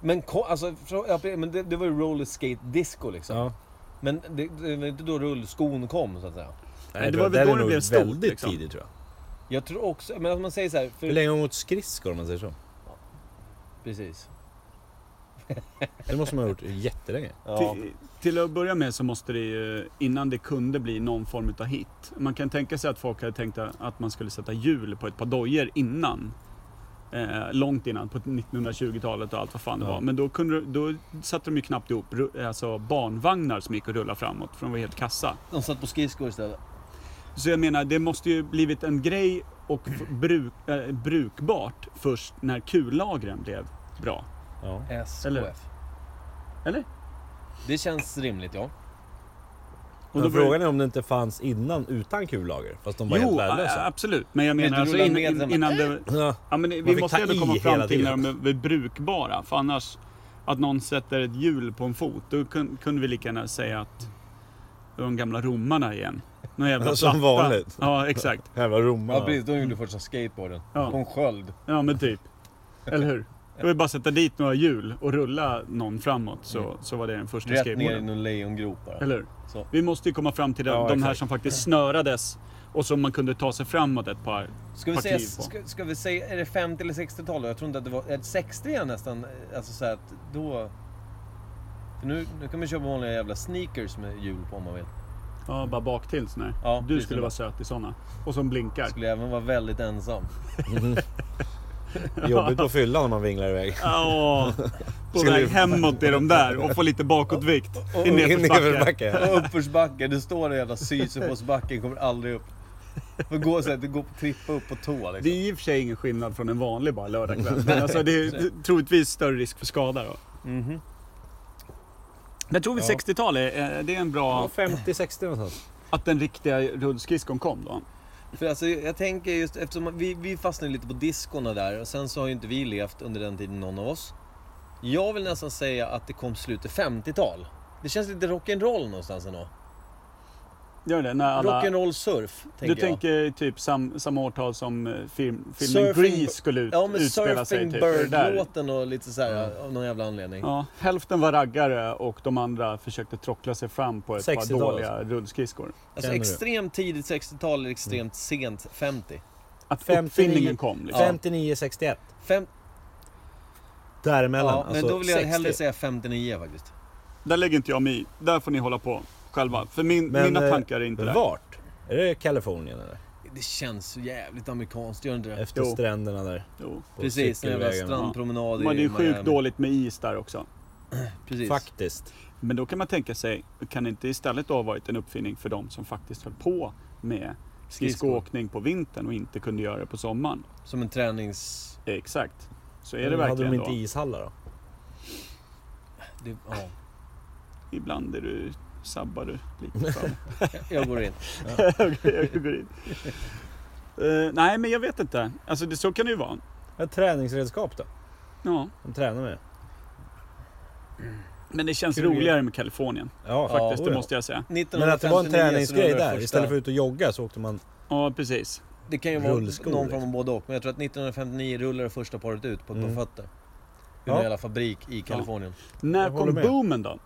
[SPEAKER 4] Men, ko- alltså, frå- ja, men det, det var ju roller skate disco liksom.
[SPEAKER 3] Ja.
[SPEAKER 4] Men det, det var inte då rullskon kom så att säga.
[SPEAKER 1] Nej, det var väl
[SPEAKER 3] där
[SPEAKER 1] då
[SPEAKER 3] är
[SPEAKER 1] det
[SPEAKER 3] nog
[SPEAKER 1] blev stort,
[SPEAKER 3] väldigt
[SPEAKER 1] liksom.
[SPEAKER 3] tidigt tror jag.
[SPEAKER 4] Jag tror också, men om man säger så här. För,
[SPEAKER 3] Hur länge har hon åkt skridskor om man säger så?
[SPEAKER 4] Precis.
[SPEAKER 3] Det måste man ha gjort jättelänge.
[SPEAKER 4] Ja.
[SPEAKER 1] Till, till att börja med så måste det ju, innan det kunde bli någon form utav hit. Man kan tänka sig att folk hade tänkt att man skulle sätta hjul på ett par dojor innan. Eh, långt innan, på 1920-talet och allt vad fan det
[SPEAKER 3] Ja.
[SPEAKER 1] var. Men då, kunde, då satte de ju knappt ihop ru- alltså barnvagnar som gick att rulla framåt, för de var helt kassa.
[SPEAKER 4] De satt på skridskor istället.
[SPEAKER 1] Så jag menar, det måste ju blivit en grej och f- bruk, eh, brukbart först när kullagren blev bra.
[SPEAKER 3] Ja.
[SPEAKER 4] SKF.
[SPEAKER 1] Eller? Eller?
[SPEAKER 4] Det känns rimligt ja.
[SPEAKER 1] Och
[SPEAKER 3] Men
[SPEAKER 1] då började-
[SPEAKER 3] frågan är om det inte fanns innan utan kullager? Fast de var
[SPEAKER 1] Jo,
[SPEAKER 3] helt
[SPEAKER 1] a-
[SPEAKER 3] värdelösa.
[SPEAKER 1] absolut. Men jag
[SPEAKER 4] Men
[SPEAKER 1] menar
[SPEAKER 4] du
[SPEAKER 1] alltså
[SPEAKER 4] rullar
[SPEAKER 1] in,
[SPEAKER 4] med
[SPEAKER 1] in,
[SPEAKER 4] den-
[SPEAKER 1] innan det...
[SPEAKER 3] Ja.
[SPEAKER 1] Ja, men
[SPEAKER 3] Man
[SPEAKER 1] vi
[SPEAKER 3] fick
[SPEAKER 1] måste
[SPEAKER 3] ta
[SPEAKER 1] ändå
[SPEAKER 3] i
[SPEAKER 1] komma fram
[SPEAKER 3] hela
[SPEAKER 1] till när
[SPEAKER 3] tiden.
[SPEAKER 1] de är- är brukbara. För annars, att någon sätter ett hjul på en fot, då kun, kunde vi lika gärna säga att det var de gamla romarna igen. Någon jävla
[SPEAKER 3] Som
[SPEAKER 1] platta.
[SPEAKER 3] vanligt.
[SPEAKER 1] Ja, exakt.
[SPEAKER 3] Jävla romarna.
[SPEAKER 4] Ja, precis, de gjorde första skateboarden.
[SPEAKER 1] Ja.
[SPEAKER 4] På en sköld.
[SPEAKER 1] Ja, men typ. Eller hur? Det var ju bara att sätta dit några hjul och rulla någon framåt
[SPEAKER 3] Mm.
[SPEAKER 1] så, så var det den första
[SPEAKER 4] Rätt ner i
[SPEAKER 1] skateboarden.
[SPEAKER 4] någon lejongrop bara.
[SPEAKER 1] Eller hur?
[SPEAKER 4] Så.
[SPEAKER 1] Vi måste ju komma fram till de, de
[SPEAKER 3] Ja,
[SPEAKER 1] här
[SPEAKER 3] exakt.
[SPEAKER 1] som faktiskt snörades och som man kunde ta sig framåt ett par
[SPEAKER 4] Ska vi,
[SPEAKER 1] par
[SPEAKER 4] säga,
[SPEAKER 1] kliv på.
[SPEAKER 4] ska, ska vi säga, är det 50 eller 60-tal? Jag tror inte att det var, är det 60 igen nästan? Alltså så här att då... För nu, nu kan man köpa vanliga jävla sneakers med hjul på om man vill.
[SPEAKER 1] Ja, bara baktill sån här.
[SPEAKER 4] Ja,
[SPEAKER 1] du
[SPEAKER 4] precis.
[SPEAKER 1] skulle vara söt i såna. Och som blinkar.
[SPEAKER 4] Skulle även vara väldigt ensam.
[SPEAKER 3] Jobbigt på fyllan när man vinglar iväg.
[SPEAKER 1] Ja, på
[SPEAKER 3] Skulle
[SPEAKER 1] väg
[SPEAKER 3] du-
[SPEAKER 1] hemåt är de där och får lite bakåtvikt i
[SPEAKER 3] In i
[SPEAKER 1] nedförsbacke.
[SPEAKER 3] nedförsbacke.
[SPEAKER 4] Och uppförsbacke, du står där i jävla Sisyfosbacken, kommer aldrig upp. Får gå så här, du går på trippa upp på tå
[SPEAKER 1] Det
[SPEAKER 4] liksom.
[SPEAKER 1] är i och för sig ingen skillnad från en vanlig bara lördagkväll. Men alltså det är troligtvis större risk för skada då.
[SPEAKER 4] Mhm.
[SPEAKER 1] Men jag tror vi 60-tal är, eh, det är en bra...
[SPEAKER 3] 50-60 någonstans.
[SPEAKER 1] Att den riktiga rullskridskon kom då.
[SPEAKER 4] För alltså jag tänker just eftersom vi, vi fastnade lite på diskorna där och sen så har ju inte vi levt under den tiden någon av oss. Jag vill nästan säga att det kom slutet 50-tal. Det känns lite rock'n'roll någonstans ändå.
[SPEAKER 1] Gör det? När alla...
[SPEAKER 4] Rock'n'roll surf, tänker
[SPEAKER 1] Du
[SPEAKER 4] jag.
[SPEAKER 1] tänker typ sam, samma årtal som eh, film, filmen
[SPEAKER 4] Surfing-
[SPEAKER 1] Grease skulle ut,
[SPEAKER 4] ja, men
[SPEAKER 1] utspela sig.
[SPEAKER 4] Surfing
[SPEAKER 1] Typ. Det där.
[SPEAKER 4] Bird-låten och lite så här av någon jävla anledning.
[SPEAKER 1] Ja, hälften var raggare och de andra försökte trockla sig fram på ett par
[SPEAKER 3] 60-talet.
[SPEAKER 1] dåliga rullskridskor.
[SPEAKER 4] alltså
[SPEAKER 3] känner du?
[SPEAKER 4] extremt tidigt 60-tal eller extremt sent 50.
[SPEAKER 1] Att
[SPEAKER 3] 59
[SPEAKER 1] uppfinningen kom. Liksom.
[SPEAKER 3] 59-61.
[SPEAKER 4] Fem,
[SPEAKER 3] Däremellan.
[SPEAKER 4] ja, men
[SPEAKER 3] alltså
[SPEAKER 4] då vill jag
[SPEAKER 3] 60.
[SPEAKER 4] hellre säga 59 faktiskt.
[SPEAKER 1] Där lägger inte jag mig i. Där får ni hålla på själva. För min,
[SPEAKER 3] Men,
[SPEAKER 1] mina
[SPEAKER 3] eh,
[SPEAKER 1] tankar är inte där.
[SPEAKER 3] Vart? Är det Kalifornien eller?
[SPEAKER 4] Det känns så jävligt amerikanskt, gör det inte det?
[SPEAKER 3] Efter
[SPEAKER 1] Jo.
[SPEAKER 3] stränderna där.
[SPEAKER 1] Jo.
[SPEAKER 3] på
[SPEAKER 4] Precis, den jävla
[SPEAKER 3] cykelvägen.
[SPEAKER 4] strandpromenad
[SPEAKER 1] De hade ju
[SPEAKER 4] Miami.
[SPEAKER 1] sjukt dåligt med is där också.
[SPEAKER 4] Precis.
[SPEAKER 3] Faktiskt.
[SPEAKER 1] Men då kan man tänka sig, kan det inte istället då ha varit en uppfinning för de som faktiskt höll på med skridskoåkning på vintern och inte kunde göra det på sommaren?
[SPEAKER 4] Som en tränings...
[SPEAKER 1] Exakt. Så är det
[SPEAKER 3] Men
[SPEAKER 1] verkligen
[SPEAKER 3] Hade de inte
[SPEAKER 1] då.
[SPEAKER 3] ishallar då?
[SPEAKER 4] Det, ja,
[SPEAKER 1] Ibland är du, sabbar du lite fram.
[SPEAKER 4] jag går in.
[SPEAKER 1] Okej, jag går in. Eh, nej, men jag vet inte. Alltså, det, så kan det ju vara.
[SPEAKER 3] Ett träningsredskap då?
[SPEAKER 1] Ja.
[SPEAKER 3] De tränar med det.
[SPEAKER 1] Men det känns
[SPEAKER 3] Kul.
[SPEAKER 1] roligare med Kalifornien.
[SPEAKER 3] Ja,
[SPEAKER 1] Faktiskt,
[SPEAKER 3] oja.
[SPEAKER 1] det måste jag säga.
[SPEAKER 3] Men att det var en
[SPEAKER 4] 1959
[SPEAKER 3] träningsgrej
[SPEAKER 4] så var det
[SPEAKER 3] där.
[SPEAKER 4] första-
[SPEAKER 3] Istället för att ut och jogga så åkte man...
[SPEAKER 1] Ja, precis.
[SPEAKER 4] Det kan ju vara
[SPEAKER 3] rullskor,
[SPEAKER 4] någon form av
[SPEAKER 3] liksom.
[SPEAKER 4] både och. Men jag tror att 1959 rullade första paret ut på ett
[SPEAKER 3] Mm.
[SPEAKER 4] par fötter. I
[SPEAKER 3] Ja.
[SPEAKER 4] en jävla fabrik i Kalifornien.
[SPEAKER 1] När
[SPEAKER 3] Jag håller
[SPEAKER 1] kom
[SPEAKER 3] med.
[SPEAKER 1] boomen då?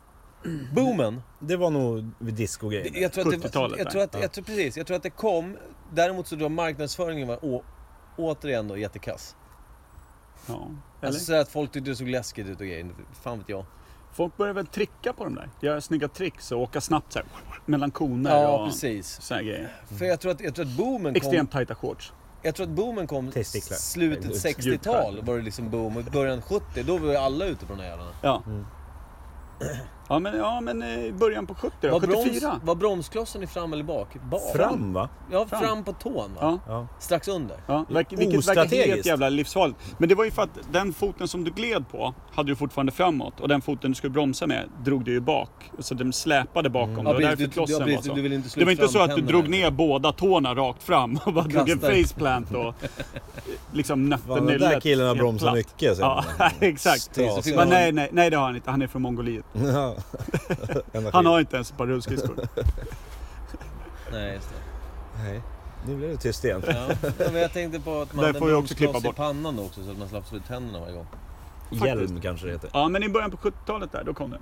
[SPEAKER 4] Boomen!
[SPEAKER 3] Det var nog vid discogrejen.
[SPEAKER 4] Det, jag tror att det,
[SPEAKER 1] 70-talet
[SPEAKER 4] jag tror att,
[SPEAKER 3] där.
[SPEAKER 4] jag tror, precis, jag tror att det kom. Däremot så tror jag marknadsföringen var å, återigen då jättekass.
[SPEAKER 1] Ja, eller?
[SPEAKER 4] Alltså så att folk tyckte det såg läskigt ut och grejer. Fan vet jag.
[SPEAKER 1] Folk börjar väl tricka på de där? Göra snygga tricks och åka snabbt så här, mellan koner
[SPEAKER 4] Ja,
[SPEAKER 1] och
[SPEAKER 4] precis.
[SPEAKER 1] såna här grejer.
[SPEAKER 4] För jag tror att, jag tror att boomen kom...
[SPEAKER 1] Extremt tajta shorts.
[SPEAKER 4] Jag tror att boomen kom
[SPEAKER 3] Testiklar.
[SPEAKER 4] slutet
[SPEAKER 3] Eller Mm.
[SPEAKER 4] 60-tal var det liksom boom och början 70 då var ju alla ute på den här jävlarna.
[SPEAKER 1] Ja. Ja men, ja, men eh, början på 70 då,
[SPEAKER 4] Var, broms,
[SPEAKER 1] 74.
[SPEAKER 4] var bromsklossen i fram eller bak? bak.
[SPEAKER 3] Fram va?
[SPEAKER 4] Ja,
[SPEAKER 1] Fram.
[SPEAKER 4] fram, på tån va?
[SPEAKER 1] Ja.
[SPEAKER 3] Ja.
[SPEAKER 4] Strax under.
[SPEAKER 1] Ja, verk- vilket verkar helt
[SPEAKER 3] Ostrategiskt.
[SPEAKER 1] jävla livsfarligt. Men det var ju för att den foten som du gled på hade du fortfarande framåt och den foten du skulle bromsa med drog du ju bak. Så den släpade bakom.
[SPEAKER 3] Mm.
[SPEAKER 1] Det var
[SPEAKER 4] precis,
[SPEAKER 1] därför
[SPEAKER 4] du- ja,
[SPEAKER 1] klossen var
[SPEAKER 4] precis,
[SPEAKER 1] så.
[SPEAKER 4] du ville inte slå
[SPEAKER 1] det var
[SPEAKER 4] ut
[SPEAKER 1] inte så att du
[SPEAKER 4] framtänderna.
[SPEAKER 1] drog ner båda tårna rakt fram och bara drog en
[SPEAKER 4] Kastade.
[SPEAKER 1] faceplant och liksom nötte
[SPEAKER 3] Fan, den där
[SPEAKER 1] nyllet
[SPEAKER 3] killen har
[SPEAKER 1] helt
[SPEAKER 3] bromsat
[SPEAKER 1] platt.
[SPEAKER 3] mycket. säger
[SPEAKER 1] Ja,
[SPEAKER 3] man.
[SPEAKER 1] exakt.
[SPEAKER 3] Stas.
[SPEAKER 4] Så fick
[SPEAKER 1] Men
[SPEAKER 4] man-
[SPEAKER 1] nej, nej, nej det har han inte. Han är från Mongoliet.
[SPEAKER 3] Ja. Energi.
[SPEAKER 1] Han har inte ens ett par rullskridskor.
[SPEAKER 4] Nej, just det.
[SPEAKER 3] Nej, nu blev det tyst igen.
[SPEAKER 4] Ja. Ja, men jag tänkte på att man
[SPEAKER 1] Där
[SPEAKER 4] hade en
[SPEAKER 1] får vi också klippa
[SPEAKER 4] bromskloss i
[SPEAKER 1] bort.
[SPEAKER 4] pannan då också så att man slapp slå ut tänderna varje gång.
[SPEAKER 3] Hjälm kanske det heter.
[SPEAKER 1] Ja, men i början på 70-talet där, då kom det.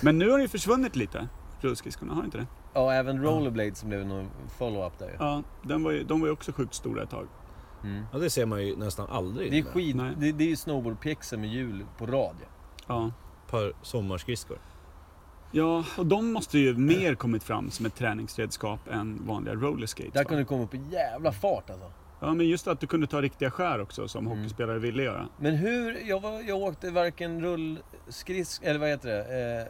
[SPEAKER 1] Men nu har det ju försvunnit lite, rullskridskorna. Har inte det?
[SPEAKER 4] Ja, även rollerblade som blev någon follow-up där ju.
[SPEAKER 1] Ja, den var ju, de var ju också sjukt stora ett tag.
[SPEAKER 4] mm.
[SPEAKER 3] Ja, det ser man ju nästan aldrig.
[SPEAKER 4] Det är
[SPEAKER 3] med
[SPEAKER 4] skid...
[SPEAKER 1] Nej.
[SPEAKER 4] Det, det är ju snowboardpjäxor med hjul på rad ju.
[SPEAKER 1] Ja.
[SPEAKER 3] Ett par sommarskridskor.
[SPEAKER 1] ja, och de måste ju mer kommit fram som ett träningsredskap än vanliga rollerskates.
[SPEAKER 4] Där
[SPEAKER 1] va?
[SPEAKER 4] kan du komma upp i jävla fart alltså.
[SPEAKER 1] Ja, men just att du kunde ta riktiga skär också som
[SPEAKER 4] Mm.
[SPEAKER 1] hockeyspelare ville göra.
[SPEAKER 4] Men hur, jag, var, jag åkte varken rullskridsk... eller vad heter det? Eh,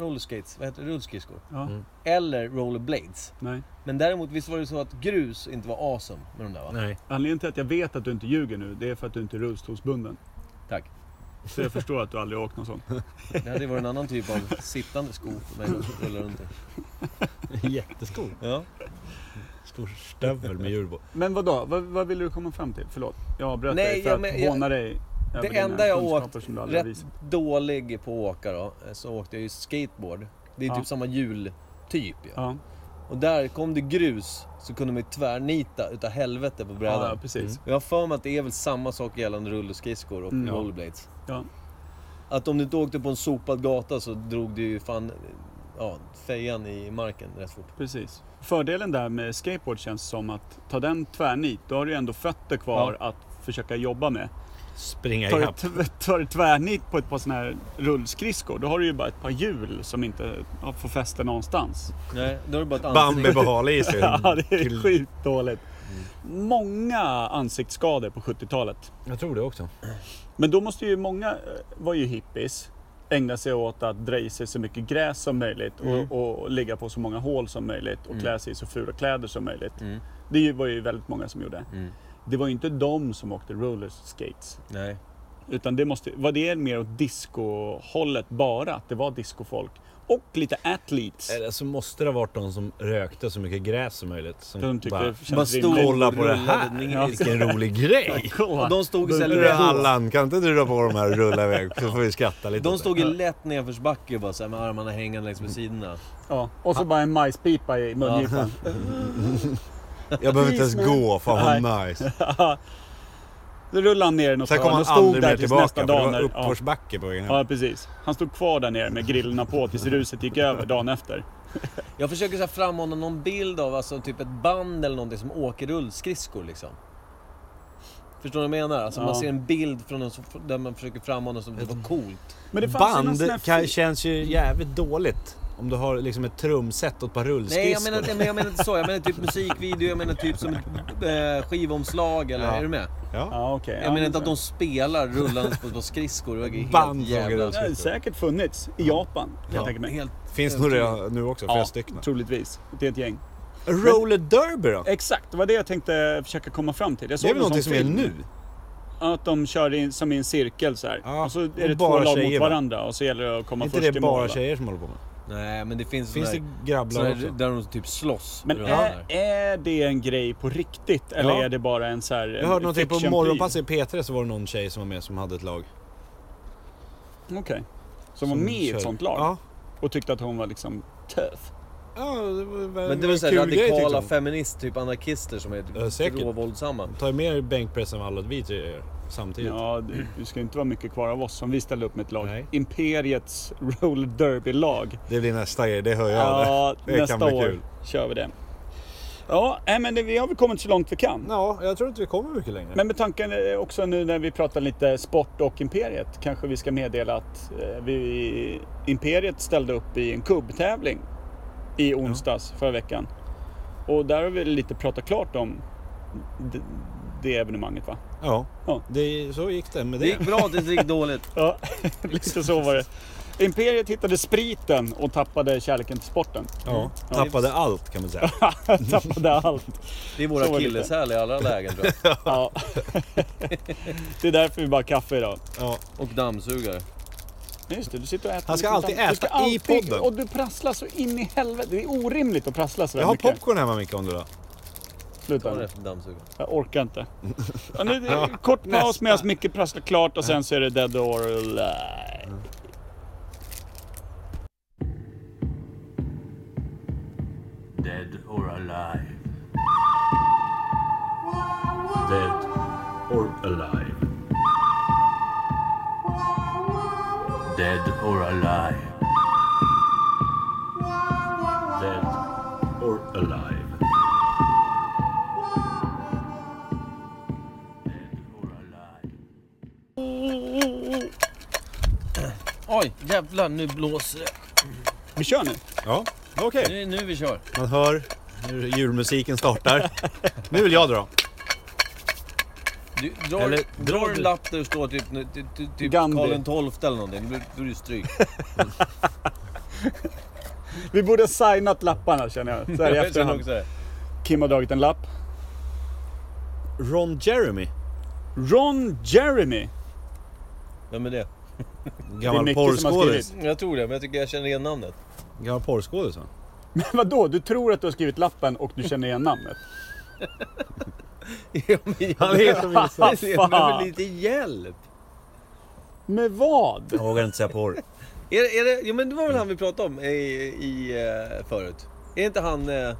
[SPEAKER 4] rollskates, vad heter det? Rullskridskor.
[SPEAKER 1] Ja,
[SPEAKER 3] Mm.
[SPEAKER 4] Eller rollerblades.
[SPEAKER 1] nej.
[SPEAKER 4] Men däremot, visst var det så att grus inte var awesome med de där va?
[SPEAKER 3] Nej.
[SPEAKER 1] Anledningen till att jag vet att du inte ljuger nu, det är för att du inte är rullstolsbunden.
[SPEAKER 4] Tack.
[SPEAKER 1] Så jag förstår att du aldrig har åkt någon sån.
[SPEAKER 4] Det hade ju varit en annan typ av sittande sko för mig att rulla runt i.
[SPEAKER 3] Jätteskor.
[SPEAKER 4] Ja.
[SPEAKER 3] Stor stövel med hjul på.
[SPEAKER 1] Men vadå, vad, vad ville du komma fram till? Förlåt, jag avbröt
[SPEAKER 4] Nej,
[SPEAKER 1] dig för
[SPEAKER 4] jag
[SPEAKER 1] att
[SPEAKER 4] men- jag-
[SPEAKER 1] håna dig. över dina
[SPEAKER 4] enda jag
[SPEAKER 1] kunskaper
[SPEAKER 4] åkt
[SPEAKER 1] som du aldrig har
[SPEAKER 4] Rätt
[SPEAKER 1] visat.
[SPEAKER 4] dålig på att åka då, eh, så åkte jag ju skateboard. Det är
[SPEAKER 1] Ja.
[SPEAKER 4] typ samma hjultyp ju.
[SPEAKER 1] Ja,
[SPEAKER 4] Och där kom det grus så kunde man ju tvärnita utav helvete på brädan.
[SPEAKER 1] ja, precis.
[SPEAKER 4] Och Jag har för mig att det är väl samma sak gällande rullskridskor och
[SPEAKER 1] Mm, ja.
[SPEAKER 4] rollerblades.
[SPEAKER 1] Ja.
[SPEAKER 4] Att om du inte åkte på en sopad gata så drog du ju fan ja, fejan i marken rätt fort.
[SPEAKER 1] Precis. Fördelen där med skateboard känns som att ta den tvärnit, då har du ju ändå fötter kvar att försöka jobba med.
[SPEAKER 3] Springa
[SPEAKER 1] Tar du,
[SPEAKER 3] ikapp.
[SPEAKER 1] t- tar du tvärnit på ett par sådana här rullskridskor, då har du ju bara ett par hjul som inte ja, får fäste någonstans.
[SPEAKER 4] Nej, då är det bara ett
[SPEAKER 3] Bambi
[SPEAKER 4] ansikte.
[SPEAKER 3] på hal is. ju.
[SPEAKER 1] Ja, det är
[SPEAKER 3] Till-
[SPEAKER 1] skitdåligt. Många ansiktsskador på 70-talet.
[SPEAKER 3] Jag tror det också.
[SPEAKER 1] Men då måste ju många, eh, var ju hippies, ägna sig åt att dra i sig så mycket gräs som möjligt
[SPEAKER 4] Mm.
[SPEAKER 1] och, och ligga på så många hål som möjligt och
[SPEAKER 4] Mm.
[SPEAKER 1] klä sig i så fula kläder som möjligt.
[SPEAKER 4] Mm.
[SPEAKER 1] Det ju- var ju väldigt många som gjorde.
[SPEAKER 4] Mm.
[SPEAKER 1] Det var ju inte de som åkte rollerskates.
[SPEAKER 4] Nej.
[SPEAKER 1] Utan det måste, var det mer åt disco-hållet bara? Att det var discofolk? Och lite athletes.
[SPEAKER 3] Eller så måste det ha varit någon som rökte så mycket gräs som möjligt. Som
[SPEAKER 1] De tyckte
[SPEAKER 3] bara,
[SPEAKER 1] det kändes
[SPEAKER 4] bara
[SPEAKER 1] rimligt.
[SPEAKER 4] stod-
[SPEAKER 3] kolla på det
[SPEAKER 4] Rullade
[SPEAKER 3] här.
[SPEAKER 4] ner.
[SPEAKER 3] Ja. Vilken rolig grej.
[SPEAKER 1] Kolla.
[SPEAKER 4] Och de stod i så här
[SPEAKER 3] Du
[SPEAKER 4] lätt-
[SPEAKER 3] Allan, kan inte du dra på de här och rulla iväg? Så får vi skratta lite.
[SPEAKER 4] De
[SPEAKER 3] åt det.
[SPEAKER 4] stod i lätt nedförsbacke och bara så här med armarna hängande längs med sidorna.
[SPEAKER 1] Ja. Och så bara en majspipa i mungipan.
[SPEAKER 3] Jag behöver inte ens gå, fan vad nice.
[SPEAKER 1] Då rullade han ner den och
[SPEAKER 3] Sen kom
[SPEAKER 1] han
[SPEAKER 3] han
[SPEAKER 1] stod
[SPEAKER 3] aldrig
[SPEAKER 1] där
[SPEAKER 3] mer
[SPEAKER 1] tills
[SPEAKER 3] tillbaka
[SPEAKER 1] nästa
[SPEAKER 3] för det
[SPEAKER 1] dag. När,
[SPEAKER 3] var
[SPEAKER 1] ja.
[SPEAKER 3] uppförsbacke på vägen hem.
[SPEAKER 1] ja, precis. Han stod kvar där nere med grillorna på tills ruset gick över dagen efter.
[SPEAKER 4] Jag försöker så här frammana någon bild av alltså typ ett band eller någonting som åker rullskridskor liksom. Förstår du vad jag menar? Alltså
[SPEAKER 1] Ja.
[SPEAKER 4] man ser en bild från någon som, där man försöker frammana som att det var coolt.
[SPEAKER 1] Men det fanns ju någon sån här
[SPEAKER 3] Band kan,
[SPEAKER 1] fi-
[SPEAKER 3] känns ju jävligt dåligt. Om du har liksom ett trumset och ett par rullskridskor.
[SPEAKER 4] Nej jag menar, inte- men jag menar inte så. Jag menar typ musikvideo, jag menar typ som ett eh, skivomslag eller
[SPEAKER 3] Ja.
[SPEAKER 4] är du med?
[SPEAKER 3] Ja.
[SPEAKER 1] Ja, okej.
[SPEAKER 4] Jag
[SPEAKER 1] ja,
[SPEAKER 4] menar
[SPEAKER 1] men
[SPEAKER 4] inte att
[SPEAKER 1] så.
[SPEAKER 4] de spelar rullandes på, på skridskor. Det var helt
[SPEAKER 3] Band som åker
[SPEAKER 4] jävla...
[SPEAKER 1] Det har säkert funnits i Japan, alltså, kan jag tänka mig.
[SPEAKER 4] Helt
[SPEAKER 3] Finns nog redan nu också, flera
[SPEAKER 1] Ja,
[SPEAKER 3] stycken.
[SPEAKER 1] troligtvis. Det är ett gäng.
[SPEAKER 3] Roller derby då?
[SPEAKER 1] Exakt, det var det jag tänkte försöka komma fram till. Jag
[SPEAKER 3] Det
[SPEAKER 1] såg
[SPEAKER 3] är
[SPEAKER 1] en
[SPEAKER 3] väl
[SPEAKER 1] sån
[SPEAKER 3] någonting som är
[SPEAKER 1] film.
[SPEAKER 3] nu?
[SPEAKER 1] Att de kör in, som i en cirkel så här.
[SPEAKER 3] Ja,
[SPEAKER 1] och så är
[SPEAKER 3] och
[SPEAKER 1] det två
[SPEAKER 3] bara
[SPEAKER 1] lag
[SPEAKER 3] tjejer,
[SPEAKER 1] mot
[SPEAKER 3] va?
[SPEAKER 1] varandra och så gäller det att komma
[SPEAKER 3] Är inte
[SPEAKER 1] först
[SPEAKER 3] det
[SPEAKER 1] i
[SPEAKER 3] bara
[SPEAKER 1] mål. va?
[SPEAKER 3] tjejer som håller på med
[SPEAKER 4] Nej men det finns
[SPEAKER 3] Finns
[SPEAKER 4] såna
[SPEAKER 3] det
[SPEAKER 4] här-
[SPEAKER 3] grabblar
[SPEAKER 4] såna
[SPEAKER 3] också?
[SPEAKER 4] här där de typ slåss.
[SPEAKER 1] Men
[SPEAKER 4] runt
[SPEAKER 1] är,
[SPEAKER 4] där.
[SPEAKER 1] är det en grej på riktigt eller
[SPEAKER 3] Ja.
[SPEAKER 1] är det bara en så här...
[SPEAKER 3] Jag hörde någonting på morgonpasset i P3 så var det någon tjej som var med som hade ett lag.
[SPEAKER 1] Okej. Som var med i
[SPEAKER 3] kör-
[SPEAKER 1] ett sånt lag
[SPEAKER 3] Ja.
[SPEAKER 1] och tyckte att hon var liksom tuff.
[SPEAKER 3] ja det var,
[SPEAKER 4] Men det var såhär radikala feminister, typ anarkister som är
[SPEAKER 3] Ja,
[SPEAKER 4] typ
[SPEAKER 3] säkert.
[SPEAKER 4] råvåldsamma.
[SPEAKER 3] Ta mer bänkpress än vad alla vi tre gör samtidigt.
[SPEAKER 1] Ja, det, det ska inte vara mycket kvar av oss som vi ställde upp med ett lag.
[SPEAKER 3] Nej.
[SPEAKER 1] Imperiets roller derby-lag.
[SPEAKER 3] Det blir nästa grej, det hör jag.
[SPEAKER 1] Ja,
[SPEAKER 3] det kan
[SPEAKER 1] nästa
[SPEAKER 3] bli
[SPEAKER 1] år
[SPEAKER 3] kul.
[SPEAKER 1] kör vi det. Ja, nej, men det, vi har väl kommit så långt vi kan.
[SPEAKER 3] Ja, jag tror inte vi kommer mycket längre.
[SPEAKER 1] Men med tanken eh, också nu när vi pratar lite sport och Imperiet kanske vi ska meddela att eh, vi, Imperiet ställde upp i en kubbtävling i onsdags förra veckan. Och där har vi lite pratat klart om det, det evenemanget va?
[SPEAKER 3] Ja,
[SPEAKER 1] Ja.
[SPEAKER 3] det, så gick det med
[SPEAKER 4] Det
[SPEAKER 3] det.
[SPEAKER 4] gick bra tills det gick dåligt.
[SPEAKER 1] Ja, lite så var det. Imperiet hittade spriten och tappade kärleken till sporten.
[SPEAKER 3] Ja, tappade allt kan man säga.
[SPEAKER 1] tappade allt.
[SPEAKER 4] Det är
[SPEAKER 1] Så
[SPEAKER 4] våra
[SPEAKER 1] var det lite.
[SPEAKER 4] killeshäl i alla lägen tror jag.
[SPEAKER 1] Ja. Det är därför vi bara har kaffe idag.
[SPEAKER 3] Ja.
[SPEAKER 4] Och dammsugare.
[SPEAKER 1] Just det, du sitter och äter.
[SPEAKER 3] Han ska
[SPEAKER 1] lite
[SPEAKER 3] alltid
[SPEAKER 1] damm. Du
[SPEAKER 3] äta
[SPEAKER 1] ska
[SPEAKER 3] i podden.
[SPEAKER 1] Och du prasslar så in i helvete. Det är orimligt att prassla så
[SPEAKER 3] Jag
[SPEAKER 1] där
[SPEAKER 3] har
[SPEAKER 1] mycket.
[SPEAKER 3] popcorn hemma Micke om du vill ha.
[SPEAKER 1] Sluta
[SPEAKER 4] Vad är
[SPEAKER 1] nu.
[SPEAKER 4] det för dammsugare?
[SPEAKER 1] Jag orkar inte. Ja, nu, det är kort paus medan Micke prasslar klart och sen så är det dead or alive.
[SPEAKER 8] Dead or alive. Dead or alive. Dead or alive. Dead or alive. Dead or alive.
[SPEAKER 4] Oj, jävlar nu blåser det.
[SPEAKER 1] Vi kör nu.
[SPEAKER 3] Ja, okej.
[SPEAKER 4] Nu är det nu vi kör.
[SPEAKER 3] Man hör hur julmusiken startar. Nu vill jag dra.
[SPEAKER 4] Du drar,
[SPEAKER 3] Eller,
[SPEAKER 4] drar
[SPEAKER 3] drar
[SPEAKER 4] en
[SPEAKER 3] du?
[SPEAKER 4] lapp där det står typ, nu- ty- ty- typ
[SPEAKER 1] Gandhi.
[SPEAKER 4] Karl XII eller någonting. Då- Då är det stryk.
[SPEAKER 1] Vi borde ha signat lapparna känner jag. Så här i
[SPEAKER 4] Jag känner
[SPEAKER 1] efterhand.
[SPEAKER 4] också det.
[SPEAKER 1] Kim har dragit en lapp.
[SPEAKER 3] Ron Jeremy.
[SPEAKER 1] Ron Jeremy.
[SPEAKER 4] Vem är det?
[SPEAKER 1] Det
[SPEAKER 3] Gammal
[SPEAKER 1] är Micke som har
[SPEAKER 3] porrskådis.
[SPEAKER 1] skrivit.
[SPEAKER 4] Jag tror det, men jag tycker jag känner igen namnet.
[SPEAKER 3] Gammal porrskådis va?
[SPEAKER 1] Men vadå? Du tror att du har skrivit lappen och du känner igen namnet?
[SPEAKER 4] Ja, men jag
[SPEAKER 3] Han är som Josef.
[SPEAKER 4] Jag behöver lite hjälp.
[SPEAKER 1] Med vad?
[SPEAKER 3] Jag vågar inte säga porr.
[SPEAKER 4] Är, det- är det, ja, men det var väl han vi pratade om i, i, eh, förut? Är inte han... Eh,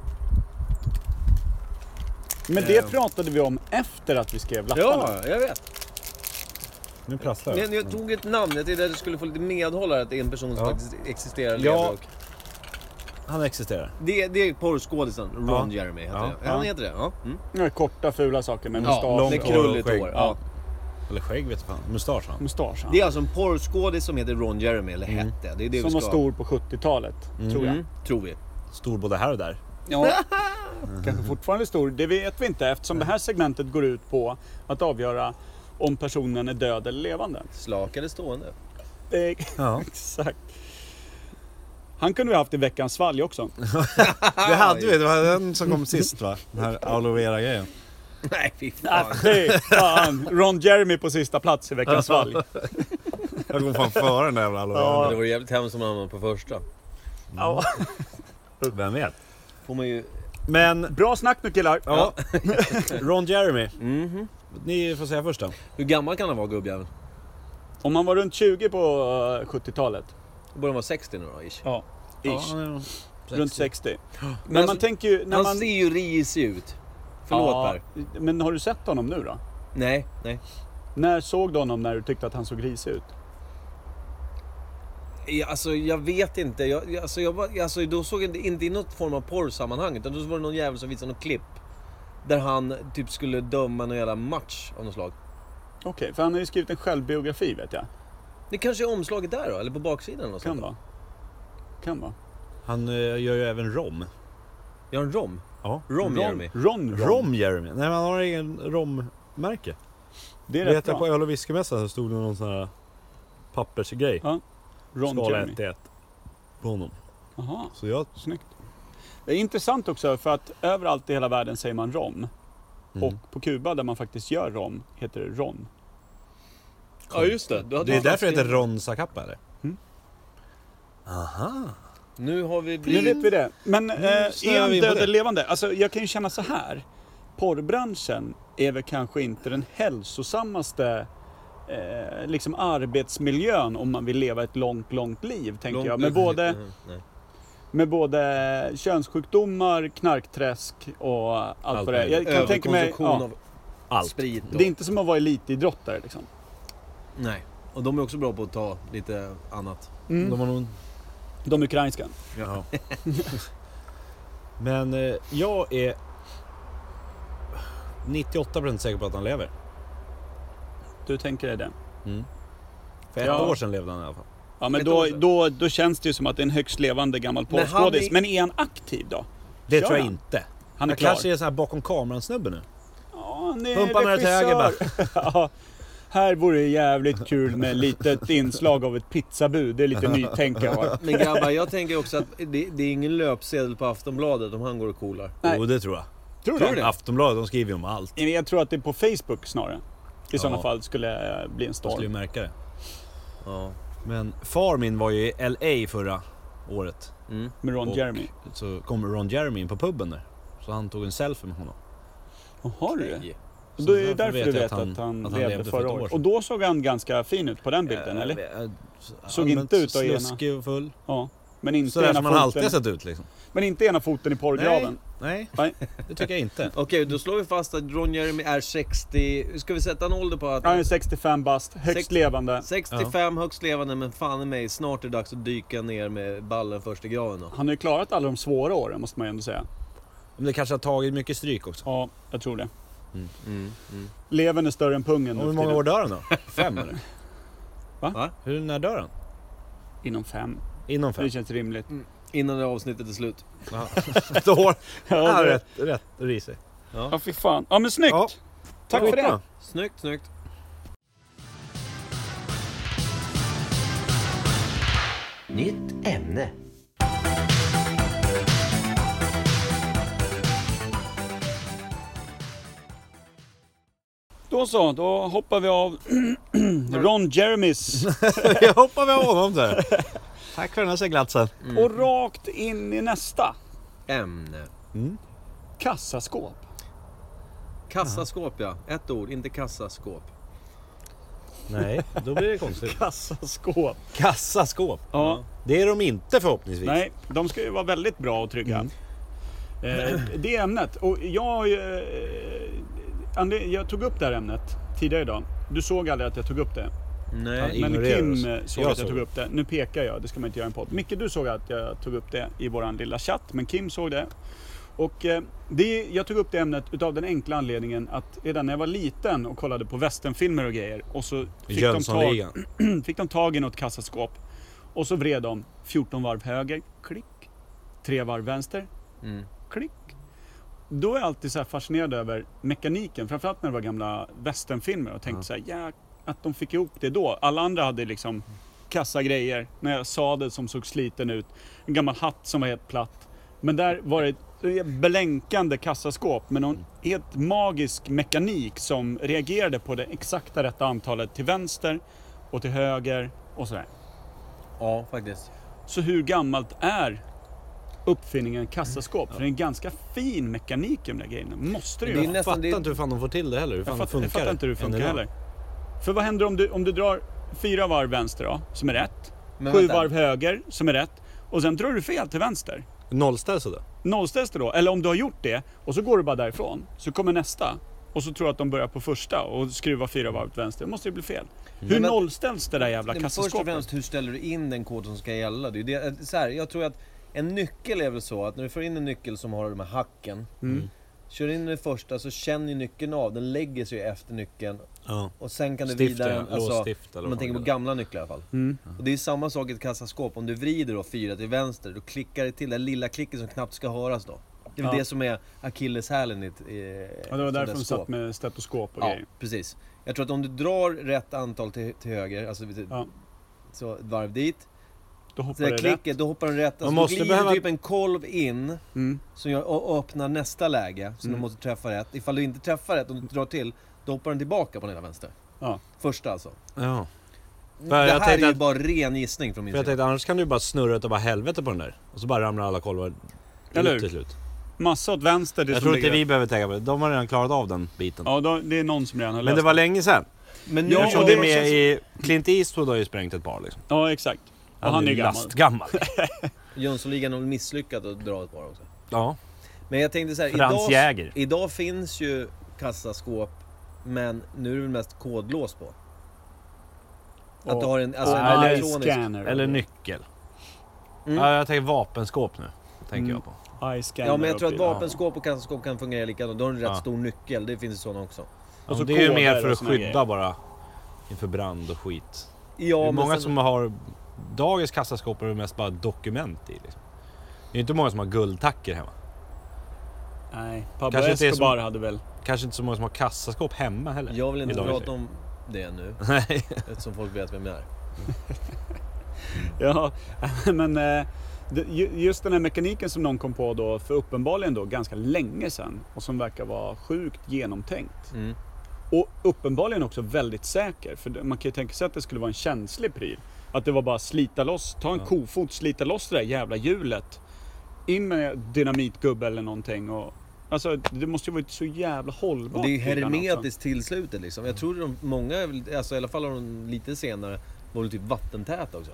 [SPEAKER 1] Men det pratade vi om efter att vi skrev lapparna.
[SPEAKER 4] ja, jag vet.
[SPEAKER 3] Nu prasslar
[SPEAKER 4] Men
[SPEAKER 3] jag.
[SPEAKER 4] jag tog ett namn. Jag tänkte att du skulle få lite medhållare att det är en person som
[SPEAKER 3] Ja.
[SPEAKER 4] faktiskt existerar.
[SPEAKER 3] Ja.
[SPEAKER 4] lever och-
[SPEAKER 3] Han existerar.
[SPEAKER 4] Det, det är porrskådisen Ron Jeremy. Heter
[SPEAKER 3] Ja.
[SPEAKER 4] det. Han heter det, ja. Mm.
[SPEAKER 1] Ja. Korta fula saker med
[SPEAKER 4] Ja,
[SPEAKER 1] mustasch.
[SPEAKER 4] med
[SPEAKER 3] långt
[SPEAKER 1] och-
[SPEAKER 3] hår och
[SPEAKER 4] krulligt
[SPEAKER 3] skägg.
[SPEAKER 4] hår. Ja.
[SPEAKER 3] Ja. Eller skägg vet fan. Mustasch han.
[SPEAKER 1] Mustasch. ja.
[SPEAKER 4] Det är alltså en porrskådis som heter Ron Jeremy, eller hette. Det är det vi
[SPEAKER 1] Som
[SPEAKER 4] ska...
[SPEAKER 1] var stor på 70-talet, tror jag.
[SPEAKER 4] Mm, tror vi.
[SPEAKER 3] Stor både här och där.
[SPEAKER 1] Ja. Kanske fortfarande stor, det vet vi inte eftersom det här segmentet går ut på att avgöra om personen är död eller levande.
[SPEAKER 4] Slak eller stående.
[SPEAKER 1] Det är,
[SPEAKER 3] Ja.
[SPEAKER 1] exakt. Han kunde vi haft i veckans svalg också.
[SPEAKER 3] Det hade vi. Det var den som kom sist va? Den här aloe vera grejen.
[SPEAKER 4] Nej, fy fan.
[SPEAKER 1] Ah, fy fan. Ron Jeremy på sista plats i veckans svalg.
[SPEAKER 4] Mm.
[SPEAKER 3] Jag går fan före den där jävla aloe
[SPEAKER 1] Ja.
[SPEAKER 3] veran.
[SPEAKER 4] Det vore jävligt hemskt om han hamnade på första.
[SPEAKER 1] Ja.
[SPEAKER 3] Vem vet?
[SPEAKER 4] Får man ju...
[SPEAKER 3] Men
[SPEAKER 1] Bra snack nu killar.
[SPEAKER 3] ja. Ron Jeremy.
[SPEAKER 1] Mm-hmm.
[SPEAKER 3] Ni får säga först då.
[SPEAKER 4] Hur gammal kan han vara, gubbjäveln?
[SPEAKER 1] Om han var runt 20 på eh, 70-talet.
[SPEAKER 4] Då borde han vara 60 nu då, ish.
[SPEAKER 1] Ja. Ish.
[SPEAKER 3] Ja,
[SPEAKER 1] runt 60. Men,
[SPEAKER 4] alltså,
[SPEAKER 1] man tänker ju... När
[SPEAKER 4] han
[SPEAKER 1] man...
[SPEAKER 4] ser ju risig ut. Förlåt
[SPEAKER 1] Ja,
[SPEAKER 4] Per.
[SPEAKER 1] Men har du sett honom nu då?
[SPEAKER 4] Nej, nej.
[SPEAKER 1] När såg du honom när du tyckte att han såg risig ut?
[SPEAKER 4] Ja, Alltså jag vet inte. Jag, jag- alltså, jag var, alltså, då såg jag det inte i något form av porrsammanhang. Utan då var det någon jävel som visade något klipp. Där han typ skulle döma någon jävla match av något slag.
[SPEAKER 1] Okej, för han har ju skrivit en självbiografi vet jag.
[SPEAKER 4] Det kanske är omslaget där då? Eller på baksidan? Eller något
[SPEAKER 1] Kan
[SPEAKER 4] sånt.
[SPEAKER 1] vara. Kan vara.
[SPEAKER 3] Han eh, gör ju även rom.
[SPEAKER 4] Jag har en rom.
[SPEAKER 3] Ja.
[SPEAKER 4] Rom, Jeremy.
[SPEAKER 1] Ron, Ron.
[SPEAKER 3] Rom Jeremy. Nej men han har egen rommärke.
[SPEAKER 1] Det är
[SPEAKER 3] Vet
[SPEAKER 1] rätt
[SPEAKER 3] jag på
[SPEAKER 1] bra.
[SPEAKER 3] öl och whiskymässan så stod det någon sån här pappersgrej.
[SPEAKER 1] Ja, Ron
[SPEAKER 3] Skala
[SPEAKER 1] Jeremy.
[SPEAKER 3] 1-1 på honom.
[SPEAKER 1] Aha,
[SPEAKER 3] Så jag...
[SPEAKER 1] snyggt. Det är intressant också för att överallt i hela världen säger man rom. Och på Kuba där man faktiskt gör rom heter det ron.
[SPEAKER 4] Ja just det. Du hade
[SPEAKER 3] Det är därför
[SPEAKER 4] ju
[SPEAKER 3] det
[SPEAKER 4] faktiskt-
[SPEAKER 3] heter Ron Zacapa eller?
[SPEAKER 4] Nu har vi
[SPEAKER 1] Nu
[SPEAKER 4] blivit...
[SPEAKER 1] vet vi det. Men eh, är
[SPEAKER 3] snöar
[SPEAKER 1] han
[SPEAKER 3] vi in på
[SPEAKER 1] död
[SPEAKER 3] det.
[SPEAKER 1] eller levande? Alltså jag kan ju känna så här. Porrbranschen är väl kanske inte den hälsosammaste eh, liksom arbetsmiljön om man vill leva ett långt, långt liv tänker
[SPEAKER 4] Långt-
[SPEAKER 1] jag. Med både,
[SPEAKER 4] Mhm, nej.
[SPEAKER 1] med både könssjukdomar, knarkträsk och allt,
[SPEAKER 3] Allt
[SPEAKER 1] vad det är. Jag kan tänka mig...
[SPEAKER 4] Överkonsumtion
[SPEAKER 1] Ja,
[SPEAKER 4] av
[SPEAKER 3] Allt.
[SPEAKER 4] sprit. och-
[SPEAKER 1] det är inte som att vara elitidrottare liksom.
[SPEAKER 4] Nej. Och de är också bra på att ta lite annat.
[SPEAKER 3] Mm. De har nog...
[SPEAKER 1] Mm. De ukrainska.
[SPEAKER 3] Ja. men eh, jag är 98% säker på att han lever.
[SPEAKER 1] Du tänker dig det?
[SPEAKER 3] För ett
[SPEAKER 1] Ja.
[SPEAKER 3] år sedan levde han i alla fall.
[SPEAKER 1] Ja men
[SPEAKER 4] Ett
[SPEAKER 1] då,
[SPEAKER 4] år sedan.
[SPEAKER 1] då, då känns det ju som att det är en högst levande gammal
[SPEAKER 4] Men han
[SPEAKER 1] porrskådis.
[SPEAKER 4] är-
[SPEAKER 1] Men är han aktiv då?
[SPEAKER 3] Det
[SPEAKER 1] Gör
[SPEAKER 3] tror jag
[SPEAKER 1] han?
[SPEAKER 3] inte.
[SPEAKER 1] Han är
[SPEAKER 3] jag
[SPEAKER 1] klar.
[SPEAKER 3] kanske är sån här bakom kameran snubbe nu.
[SPEAKER 1] Ja, han är
[SPEAKER 3] Pumpa med det till höger bara.
[SPEAKER 1] ja, Här vore det jävligt kul med litet inslag av ett pizzabud. Det är lite nytänk jag har.
[SPEAKER 4] Men grabbar, jag tänker också att det, det är ingen löpsedel på Aftonbladet om han går och coolar.
[SPEAKER 1] Nej.
[SPEAKER 3] Jo, det tror jag.
[SPEAKER 1] Tror
[SPEAKER 4] du
[SPEAKER 1] du
[SPEAKER 4] det?
[SPEAKER 1] det?
[SPEAKER 3] Aftonbladet, de skriver ju om allt.
[SPEAKER 1] Jag tror att det är på Facebook snarare. I sådana
[SPEAKER 3] Ja.
[SPEAKER 1] fall skulle eh, bli en
[SPEAKER 3] Jag skulle ju
[SPEAKER 1] storm.
[SPEAKER 3] märka det.
[SPEAKER 4] Ja.
[SPEAKER 3] Men far min var ju i LA förra året.
[SPEAKER 4] Mm.
[SPEAKER 1] Med Ron
[SPEAKER 3] Och-
[SPEAKER 1] Jeremy.
[SPEAKER 3] Så kom Ron Jeremy in på puben där. Så han tog en selfie med honom.
[SPEAKER 1] Jaha du.
[SPEAKER 4] Okej.
[SPEAKER 1] Och
[SPEAKER 3] Så
[SPEAKER 1] då är det
[SPEAKER 3] därför
[SPEAKER 1] därför du
[SPEAKER 3] vet jag
[SPEAKER 1] vet att han,
[SPEAKER 3] att han
[SPEAKER 1] levde,
[SPEAKER 3] levde för ett
[SPEAKER 1] förra
[SPEAKER 3] år
[SPEAKER 1] året.
[SPEAKER 3] sedan.
[SPEAKER 1] Och då såg han ganska fin ut på den bilden,
[SPEAKER 3] Eh,
[SPEAKER 1] eller?
[SPEAKER 3] eh,
[SPEAKER 1] Såg inte
[SPEAKER 3] allmänt
[SPEAKER 1] ut att ge en-
[SPEAKER 3] Snuskig och full.
[SPEAKER 1] Ja. Men inte,
[SPEAKER 3] Sådär
[SPEAKER 1] ena
[SPEAKER 3] som han alltid har
[SPEAKER 1] foten,
[SPEAKER 3] sett ut liksom.
[SPEAKER 1] men inte ena foten i porrgraven.
[SPEAKER 3] Nej,
[SPEAKER 1] Nej.
[SPEAKER 3] det tycker jag inte.
[SPEAKER 4] Okej, då slår vi fast att Ron Jeremy är 60... Ska vi sätta en ålder på att...
[SPEAKER 1] Han är 65 bast, högst
[SPEAKER 4] Sex-
[SPEAKER 1] levande.
[SPEAKER 4] 65, högst levande, men fan i mig, snart är det dags att dyka ner med ballen först i graven då.
[SPEAKER 1] Han har ju klarat alla de svåra åren måste man ju ändå säga.
[SPEAKER 3] Men det kanske har tagit mycket stryk också.
[SPEAKER 1] Ja, jag tror det.
[SPEAKER 4] Mm, mm.
[SPEAKER 1] Levern är större än pungen
[SPEAKER 3] Och
[SPEAKER 1] nu
[SPEAKER 3] hur
[SPEAKER 1] för
[SPEAKER 3] många
[SPEAKER 1] tiden.
[SPEAKER 3] år dör han då? Fem eller?
[SPEAKER 4] Va?
[SPEAKER 3] Hur när dör han?
[SPEAKER 1] Inom fem.
[SPEAKER 3] Innan fem?
[SPEAKER 1] Det känns rimligt.
[SPEAKER 4] Innan det här avsnittet är slut.
[SPEAKER 3] Ett år? Ja,
[SPEAKER 1] Ja, det-
[SPEAKER 3] rätt, rätt risig.
[SPEAKER 1] ja fy fan. Ja men snyggt!
[SPEAKER 3] Ja.
[SPEAKER 1] Tack för det!
[SPEAKER 4] Snyggt, snyggt.
[SPEAKER 7] Nytt ämne.
[SPEAKER 1] Då så, då hoppar vi av Ron Jeremys
[SPEAKER 3] Jag hoppar med honom där. Tack för den här seglatsen.
[SPEAKER 4] Mm.
[SPEAKER 1] och rakt in i nästa.
[SPEAKER 4] Ämne.
[SPEAKER 1] Kassaskåp.
[SPEAKER 4] Kassaskåp ja. Ett ord, inte kassaskåp.
[SPEAKER 3] Nej, då blir det konstigt.
[SPEAKER 1] Kassaskåp.
[SPEAKER 3] Kassaskåp.
[SPEAKER 1] Ja.
[SPEAKER 3] Det är de inte förhoppningsvis.
[SPEAKER 1] Nej, de ska ju vara väldigt bra och trygga.
[SPEAKER 4] Mm.
[SPEAKER 1] Eh, det är ämnet. Och jag, har ju, eh, André, jag tog upp det här ämnet tidigare idag. Du såg aldrig att jag tog upp det.
[SPEAKER 4] Nej.
[SPEAKER 1] Men
[SPEAKER 3] ignorerar
[SPEAKER 1] Kim
[SPEAKER 3] oss.
[SPEAKER 1] eh, såg
[SPEAKER 3] Jag
[SPEAKER 1] att jag
[SPEAKER 3] såg
[SPEAKER 1] tog
[SPEAKER 3] det.
[SPEAKER 1] upp det. Nu pekar jag, det ska man inte göra i en podd. Micke, du såg att jag tog upp det i våran lilla chatt, men Kim såg det. Och eh, det, jag tog upp det ämnet utav den enkla anledningen att redan när jag var liten och kollade på westernfilmer och grejer och så fick de, tag,
[SPEAKER 3] Jönssonligan.
[SPEAKER 1] fick de tag i något kassaskåp. Och så vred de 14 varv höger, klick. 3 varv vänster,
[SPEAKER 4] Mm.
[SPEAKER 1] klick. Då är jag alltid så här fascinerad över mekaniken, framförallt när det var gamla westernfilmer och tänkte så här, ja, att de fick ihop det då. Alla andra hade liksom kassa grejer, när jag sadel som såg sliten ut, en gammal hatt som var helt platt. Men där var det ett blänkande kassaskåp med någon helt magisk mekanik som reagerade på det exakta rätta antalet till vänster och till höger och sådär.
[SPEAKER 4] Ja, faktiskt.
[SPEAKER 1] Så hur gammalt är uppfinningen kassaskåp? För det är en ganska fin mekanik i de där grejerna. Måste det ju
[SPEAKER 4] Det är
[SPEAKER 1] vara.
[SPEAKER 4] nästan-
[SPEAKER 3] Jag fattar
[SPEAKER 4] det-
[SPEAKER 3] inte hur fan de får till det heller. Hur fan
[SPEAKER 1] Jag fattar,
[SPEAKER 3] funkar
[SPEAKER 1] jag fattar inte hur det
[SPEAKER 3] än
[SPEAKER 1] funkar
[SPEAKER 3] idag.
[SPEAKER 1] heller. För vad händer om du, om du drar fyra varv vänster då, som är rätt.
[SPEAKER 4] Men
[SPEAKER 1] sju
[SPEAKER 4] vänta.
[SPEAKER 1] varv höger, som är rätt. Och sen drar du fel till vänster.
[SPEAKER 3] Nollställs det?
[SPEAKER 1] Nollställs det då? Eller om du har gjort det och så går du bara därifrån. Så kommer nästa. Och så tror du att de börjar på första och skruvar fyra varv till vänster. Då måste det bli fel. Hur
[SPEAKER 4] Men-
[SPEAKER 1] nollställs det där jävla
[SPEAKER 4] Nej, men Först och
[SPEAKER 1] kassaskåpet?
[SPEAKER 4] främst, hur ställer du in den kod som ska gälla? Det är ju det, så här, jag tror att en nyckel är väl så att när du får in en nyckel som har de här hacken.
[SPEAKER 1] Mm.
[SPEAKER 3] Mm.
[SPEAKER 4] Kör in den första så känner ju nyckeln av, den lägger sig ju efter nyckeln.
[SPEAKER 3] Ja.
[SPEAKER 4] Och sen kan du
[SPEAKER 3] Stift,
[SPEAKER 4] vrida
[SPEAKER 3] ja.
[SPEAKER 4] den,
[SPEAKER 3] Låsstift eller
[SPEAKER 4] om man
[SPEAKER 3] vad
[SPEAKER 4] tänker på
[SPEAKER 3] det är.
[SPEAKER 4] gamla nycklar i alla fall.
[SPEAKER 1] Mm.
[SPEAKER 4] Och det är ju samma sak i ett kassaskåp, om du vrider då fyra till vänster, då klickar det till, den lilla klicken som knappt ska höras då. Det är väl
[SPEAKER 1] Ja.
[SPEAKER 4] det som är akilleshälen i ett eh,
[SPEAKER 1] Ja, det var
[SPEAKER 4] sånt där
[SPEAKER 1] därför de
[SPEAKER 4] skåp.
[SPEAKER 1] satt med stetoskop och
[SPEAKER 4] Ja,
[SPEAKER 1] grejer.
[SPEAKER 4] precis. Jag tror att om du drar rätt antal till, till höger, alltså till,
[SPEAKER 1] Ja.
[SPEAKER 4] så ett varv dit.
[SPEAKER 1] Då hoppar
[SPEAKER 4] Så där
[SPEAKER 1] det rätt.
[SPEAKER 4] klicket, då hoppar den rätt. Alltså,
[SPEAKER 3] Man
[SPEAKER 4] då
[SPEAKER 3] måste
[SPEAKER 4] glider
[SPEAKER 3] behöva-
[SPEAKER 4] typ en kolv in
[SPEAKER 1] Mm.
[SPEAKER 4] som gör, och öppnar nästa läge, så
[SPEAKER 3] Mm.
[SPEAKER 4] du måste träffa rätt. Ifall du inte träffar rätt, om du drar till, då hoppar den tillbaka på den ena vänster.
[SPEAKER 1] Ja.
[SPEAKER 4] Första alltså.
[SPEAKER 3] Ja.
[SPEAKER 4] det
[SPEAKER 3] jag
[SPEAKER 4] här är
[SPEAKER 3] tänkte
[SPEAKER 4] ju
[SPEAKER 3] att-
[SPEAKER 4] bara ren gissning från min
[SPEAKER 3] För jag
[SPEAKER 4] sida.
[SPEAKER 3] tänkte annars kan du bara snurra utav bara helvete på den där. Och så bara ramlar alla kolvar
[SPEAKER 1] Eller
[SPEAKER 3] ut
[SPEAKER 1] hur?
[SPEAKER 3] till slut.
[SPEAKER 1] Massa åt vänster. Det
[SPEAKER 3] Jag
[SPEAKER 1] som
[SPEAKER 3] tror inte
[SPEAKER 1] ligger-
[SPEAKER 3] vi behöver tänka på det. De har redan klarat av den biten.
[SPEAKER 1] Ja, då, det är någon som redan har
[SPEAKER 3] Men
[SPEAKER 1] löst
[SPEAKER 3] det var länge sedan.
[SPEAKER 4] Men nu,
[SPEAKER 1] Ja,
[SPEAKER 3] Eftersom
[SPEAKER 1] och
[SPEAKER 3] det
[SPEAKER 1] det
[SPEAKER 3] är med
[SPEAKER 1] känns-
[SPEAKER 3] i... Clint Eastwood har ju sprängt ett par liksom.
[SPEAKER 1] Ja, exakt. Och han är gammal.
[SPEAKER 3] lastgammal.
[SPEAKER 4] Jönssonligan har misslyckats att dra ett par också.
[SPEAKER 3] ja.
[SPEAKER 4] Men jag tänkte så här,
[SPEAKER 3] Frans
[SPEAKER 4] idag,
[SPEAKER 3] Jäger.
[SPEAKER 4] idag finns ju kassaskåp, men nu är det väl mest kodlås på. Att
[SPEAKER 1] Och-
[SPEAKER 4] du har en, alltså
[SPEAKER 1] och
[SPEAKER 4] en
[SPEAKER 3] eller
[SPEAKER 1] eye
[SPEAKER 4] elektronisk...
[SPEAKER 1] scanner.
[SPEAKER 3] Eller nyckel.
[SPEAKER 4] Mm.
[SPEAKER 3] Ja, jag tänker vapenskåp nu. Tänker
[SPEAKER 1] Mm.
[SPEAKER 3] jag på.
[SPEAKER 1] Eye scanner
[SPEAKER 4] Ja men jag tror att
[SPEAKER 1] uppbyggd.
[SPEAKER 4] vapenskåp och kassaskåp kan fungera likadant. Då har du en rätt
[SPEAKER 3] Ja.
[SPEAKER 4] stor nyckel, det finns ju sådana också.
[SPEAKER 1] Och så
[SPEAKER 3] det är ju
[SPEAKER 1] koder
[SPEAKER 3] mer för
[SPEAKER 1] och
[SPEAKER 3] att
[SPEAKER 1] såna här
[SPEAKER 3] skydda
[SPEAKER 1] grejer.
[SPEAKER 3] bara inför brand och skit.
[SPEAKER 4] Ja,
[SPEAKER 3] det är
[SPEAKER 4] men
[SPEAKER 3] många
[SPEAKER 4] sen-
[SPEAKER 3] som har... Dagens kassaskåp är det mest bara dokument i. Liksom. Det är inte många som har guldtacker hemma.
[SPEAKER 1] Nej, Pablo
[SPEAKER 3] Kanske inte är
[SPEAKER 1] Escobar
[SPEAKER 3] som-
[SPEAKER 1] hade väl...
[SPEAKER 3] Kanske inte så många som har kassaskåp hemma heller.
[SPEAKER 4] Jag vill inte
[SPEAKER 3] i dagens
[SPEAKER 4] prata
[SPEAKER 3] läge.
[SPEAKER 4] om det nu.
[SPEAKER 2] Nej.
[SPEAKER 4] Eftersom folk vet vem jag är.
[SPEAKER 1] Ja, men eh, det- ju- just den här mekaniken som någon kom på då för uppenbarligen då ganska länge sedan och som verkar vara sjukt genomtänkt.
[SPEAKER 4] Mm.
[SPEAKER 1] Och uppenbarligen också väldigt säker. För det- man kan ju tänka sig att det skulle vara en känslig pryl. Att det var bara slita loss, ta en kofot, slita loss det där jävla hjulet. In med dynamitgubbe eller någonting. Och, alltså det måste ju varit så jävla hållbart.
[SPEAKER 4] Och det är
[SPEAKER 1] prylarna också.
[SPEAKER 4] hermetiskt till slutet liksom. Jag tror de, många, är väl- alltså, i alla fall av de lite senare, var väl typ vattentäta också.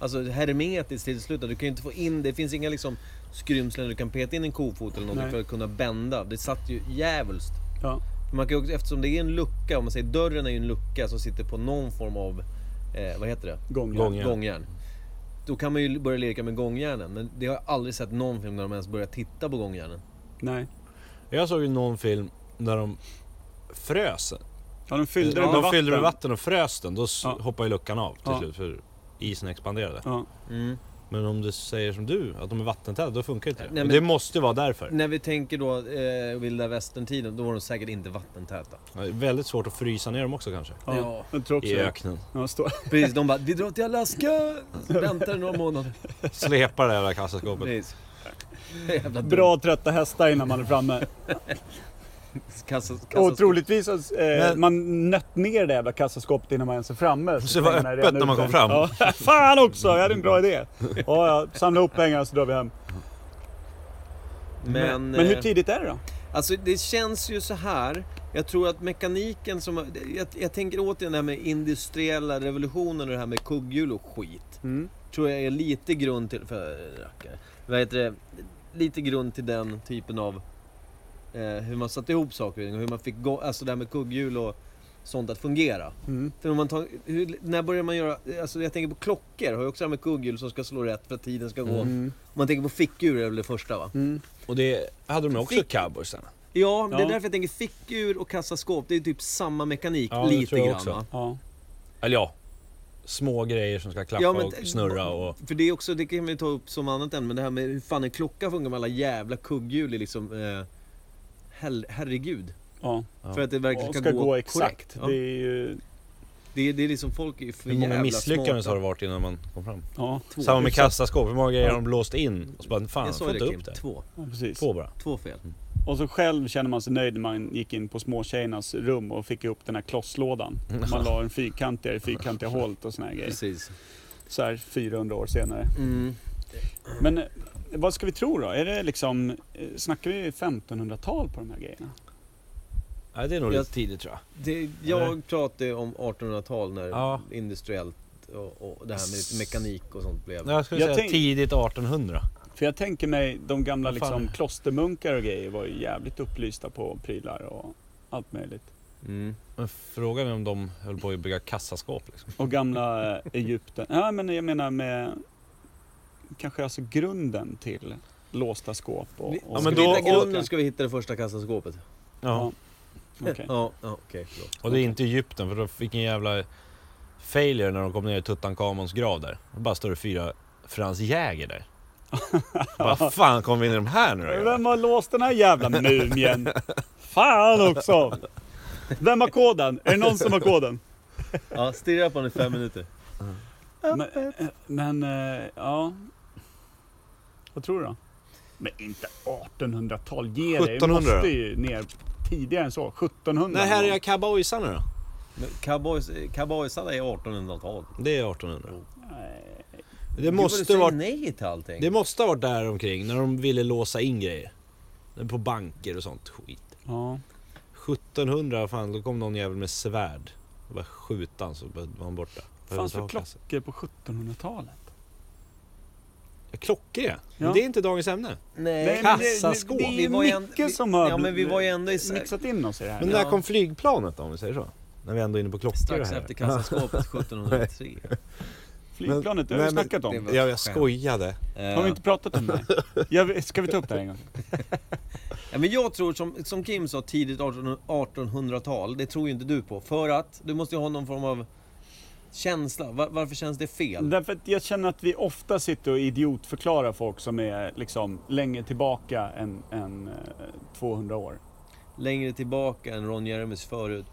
[SPEAKER 4] Alltså hermetiskt till slutet. Du kan ju inte få in, det finns inga liksom skrymslen du kan peta in en kofot eller någonting
[SPEAKER 1] Nej.
[SPEAKER 4] för att kunna bända. Det satt ju djävulskt.
[SPEAKER 1] Ja.
[SPEAKER 4] Man kan ju också, eftersom det är en lucka, om man säger dörren är ju en lucka som sitter på någon form av, eh, vad heter det?
[SPEAKER 1] Gångjärn.
[SPEAKER 3] Gångjärn.
[SPEAKER 4] gångjärn. Då kan man ju börja leka med gångjärnen. Men det har jag aldrig sett någon film där de ens börjar titta på gångjärnen.
[SPEAKER 1] Nej.
[SPEAKER 3] Jag såg ju någon film när de frös.
[SPEAKER 1] Ja, de fyllde det med
[SPEAKER 3] de
[SPEAKER 1] vatten.
[SPEAKER 3] fyllde med vatten och frös den. Då s-
[SPEAKER 1] Ja.
[SPEAKER 3] hoppade ju luckan av till
[SPEAKER 1] Ja.
[SPEAKER 3] slut för isen expanderade.
[SPEAKER 1] Ja.
[SPEAKER 4] Mm.
[SPEAKER 3] Men om du säger som du, att de är vattentäta, då funkar inte det.
[SPEAKER 4] Nej,
[SPEAKER 3] Och
[SPEAKER 4] men-
[SPEAKER 3] Det måste ju vara därför.
[SPEAKER 4] När vi tänker då eh, vilda västern-tiden, då var de säkert inte vattentäta.
[SPEAKER 3] Ja, det är Väldigt svårt att frysa ner dem också kanske.
[SPEAKER 1] Ja.
[SPEAKER 4] Ja.
[SPEAKER 1] Jag tror också
[SPEAKER 3] I
[SPEAKER 1] det.
[SPEAKER 3] öknen.
[SPEAKER 1] Ja, stå.
[SPEAKER 4] Precis, de bara vi drar till Alaska, väntar i några månader.
[SPEAKER 3] Slepa det där kassaskåpet.
[SPEAKER 4] Precis. Jävla dumt.
[SPEAKER 1] Bra trötta hästar innan man är framme.
[SPEAKER 4] Kassa, kassa,
[SPEAKER 1] Och troligtvis att eh,
[SPEAKER 3] Men-
[SPEAKER 1] man nött ner det jävla kassaskåpet innan man ens är framme.
[SPEAKER 3] Så det var
[SPEAKER 1] pengarna är
[SPEAKER 3] öppet
[SPEAKER 1] redan
[SPEAKER 3] när man
[SPEAKER 1] ute.
[SPEAKER 3] kom fram.
[SPEAKER 1] Ja, fan också, jag hade en bra idé. Ja, ja, samla ihop pengarna så drar vi hem.
[SPEAKER 4] Men,
[SPEAKER 1] Men hur
[SPEAKER 4] eh,
[SPEAKER 1] tidigt är det då?
[SPEAKER 4] Alltså det känns ju så här. Jag tror att mekaniken som... Jag, jag tänker återigen det här med industriella revolutionen och det här med kugghjul och skit.
[SPEAKER 1] Mm.
[SPEAKER 4] Tror jag är lite grund till... För rackare. Vad heter det? Lite grund till den typen av... Eh, hur man satte ihop saker och ting och hur man fick gå, Alltså det här med kugghjul och sånt att fungera.
[SPEAKER 1] Mm.
[SPEAKER 4] För om man tar, hur, när börjar man göra... Alltså jag tänker på klockor. Har ju också det här med kugghjul som ska slå rätt för att tiden ska gå.
[SPEAKER 1] Mm.
[SPEAKER 4] Om man tänker på fickdjur är väl det första va?
[SPEAKER 3] Och det hade de också
[SPEAKER 4] Fick-
[SPEAKER 3] cowboysarna.
[SPEAKER 4] Ja, men det
[SPEAKER 1] Ja.
[SPEAKER 4] är därför jag tänker fickur och kassaskåp, det är ju typ samma mekanik
[SPEAKER 3] Ja, det
[SPEAKER 4] lite
[SPEAKER 3] tror jag
[SPEAKER 4] grann.
[SPEAKER 3] också.
[SPEAKER 4] va?
[SPEAKER 1] Ja.
[SPEAKER 3] Eller ja, små grejer som ska klaffa
[SPEAKER 4] Ja, men-
[SPEAKER 3] och snurra och...
[SPEAKER 4] För det är också, det kan vi ta upp som annat än, men det här med hur fan en klocka funkar med alla jävla kugghjul är liksom... Eh, hell, herregud.
[SPEAKER 1] ja.
[SPEAKER 3] Ja.
[SPEAKER 4] För att det verkligen
[SPEAKER 1] Och
[SPEAKER 4] ska,
[SPEAKER 1] ska gå
[SPEAKER 4] korrekt.
[SPEAKER 1] exakt.
[SPEAKER 4] Ja.
[SPEAKER 1] Det är
[SPEAKER 4] Det...
[SPEAKER 1] ju...
[SPEAKER 4] Det, är liksom folk är ju för
[SPEAKER 3] Hur många
[SPEAKER 4] jävla
[SPEAKER 3] misslyckanden
[SPEAKER 4] smarta.
[SPEAKER 3] har det varit innan man kom fram?
[SPEAKER 1] Ja,
[SPEAKER 4] Två.
[SPEAKER 3] Samma med
[SPEAKER 4] Jag
[SPEAKER 3] kassaskåp, hur många grejer har de blåst in? Och så bara, fan, jag
[SPEAKER 4] sa
[SPEAKER 3] får
[SPEAKER 4] det,
[SPEAKER 3] inte
[SPEAKER 4] Kim.
[SPEAKER 3] upp det.
[SPEAKER 4] Två.
[SPEAKER 1] ja, precis.
[SPEAKER 3] Två bara.
[SPEAKER 4] Två fel.
[SPEAKER 1] Och så själv känner man sig nöjd när man gick in på småtjejernas rum och fick ihop den här klosslådan. Man la en fyrkantigare i fyrkantiga hålet och såna här grejer.
[SPEAKER 4] Precis.
[SPEAKER 1] Så här 400 år senare.
[SPEAKER 4] Mm.
[SPEAKER 1] Men eh, vad ska vi tro då? Är det liksom, eh, snackar vi 1500-tal på de här grejerna?
[SPEAKER 3] Nej, det är nog
[SPEAKER 4] Jag-
[SPEAKER 3] lite tidigt tror jag.
[SPEAKER 4] Det, jag pratade om 1800-tal när
[SPEAKER 3] Ja.
[SPEAKER 4] industriellt och, och det här med mekanik och sånt blev...
[SPEAKER 3] Jag skulle
[SPEAKER 1] Jag
[SPEAKER 3] säga
[SPEAKER 1] tänk-
[SPEAKER 3] tidigt 1800.
[SPEAKER 1] För jag tänker mig, de gamla
[SPEAKER 3] Vad fan
[SPEAKER 1] liksom,
[SPEAKER 3] är-
[SPEAKER 1] klostermunkar och grejer var ju jävligt upplysta på prylar och allt möjligt.
[SPEAKER 4] Mm.
[SPEAKER 3] Men frågan är om de höll på att bygga kassaskåp liksom.
[SPEAKER 1] Och gamla eh, Egypten. Ja, men jag menar med kanske alltså grunden till låsta skåp och...
[SPEAKER 4] Vi-
[SPEAKER 1] och
[SPEAKER 3] Ja,
[SPEAKER 4] ska
[SPEAKER 3] men
[SPEAKER 4] vi
[SPEAKER 3] då-
[SPEAKER 4] hitta grunden
[SPEAKER 1] och-
[SPEAKER 4] ska vi hitta det första kassaskåpet.
[SPEAKER 1] Ja. Okej.
[SPEAKER 4] Ja, ja okej. förlåt.
[SPEAKER 3] Och det är inte Egypten, för då fick en jävla failure när de kom ner i Tutankhamons grav där. Då bara står det fyra Frans Jäger där. Vad fan kom vi in i de här nu då?
[SPEAKER 1] Vem
[SPEAKER 3] grabbar?
[SPEAKER 1] har låst den här jävla mumien? Fan också! Vem har koden? Är det någon som har koden?
[SPEAKER 4] Ja, stirra på den i fem minuter.
[SPEAKER 1] Men, eh, men eh, ja. Vad tror du då? Men inte 1800-tal. Ge dig.
[SPEAKER 3] 1700
[SPEAKER 1] måste
[SPEAKER 3] då?
[SPEAKER 1] ju ner tidigare än så. 1700.
[SPEAKER 3] När här är jag cowboysarna då?
[SPEAKER 4] Men Cowboys, cowboysarna är 1800-tal.
[SPEAKER 3] Det är 1800.
[SPEAKER 1] Nej.
[SPEAKER 3] Det
[SPEAKER 4] Gud, vad du
[SPEAKER 3] måste,
[SPEAKER 4] säger
[SPEAKER 3] varit,
[SPEAKER 4] nej till allting.
[SPEAKER 3] det måste ha varit där omkring när de ville låsa in grejer. På banker och sånt skit.
[SPEAKER 1] Ja.
[SPEAKER 3] 1700, fan då kom någon jävel med svärd. Och bara skjuta han så var han borta.
[SPEAKER 1] Fanns det
[SPEAKER 3] Behövde ha kassa.
[SPEAKER 1] klockor på 1700-talet?
[SPEAKER 3] Klockor ja.
[SPEAKER 1] Ja.
[SPEAKER 3] Men det är inte dagens ämne.
[SPEAKER 1] Nej,
[SPEAKER 4] nej,
[SPEAKER 1] men det-
[SPEAKER 3] kassaskåp.
[SPEAKER 1] Det, det är
[SPEAKER 4] Vi
[SPEAKER 1] ju
[SPEAKER 4] var ju en-
[SPEAKER 1] mycket
[SPEAKER 4] vi-
[SPEAKER 1] som har
[SPEAKER 4] ja, men vi var ju ändå i-
[SPEAKER 1] mixat in oss i det här.
[SPEAKER 3] Men
[SPEAKER 1] nu.
[SPEAKER 3] när
[SPEAKER 4] Ja.
[SPEAKER 3] kom flygplanet då om vi säger så? När vi ändå är inne på klockor
[SPEAKER 4] strax
[SPEAKER 3] här.
[SPEAKER 4] efter kassaskåpet 1703.
[SPEAKER 1] Flygplanet, det
[SPEAKER 3] nej,
[SPEAKER 1] har vi
[SPEAKER 3] men-
[SPEAKER 1] snackat
[SPEAKER 4] det
[SPEAKER 1] om.
[SPEAKER 4] var-
[SPEAKER 3] Ja, jag skojade.
[SPEAKER 1] Har
[SPEAKER 4] Eh,
[SPEAKER 1] vi inte pratat om det? Jag, ska vi ta upp det här en gång?
[SPEAKER 4] ja, men jag tror som, som Kim sa, tidigt 1800- 1800-tal, det tror ju inte du på. För att du måste ju ha någon form av känsla. Va- varför känns det fel?
[SPEAKER 1] Därför att jag känner att vi ofta sitter och idiotförklarar folk som är liksom längre tillbaka än, än eh, 200 år.
[SPEAKER 4] Längre tillbaka än Ron Jeremys förut.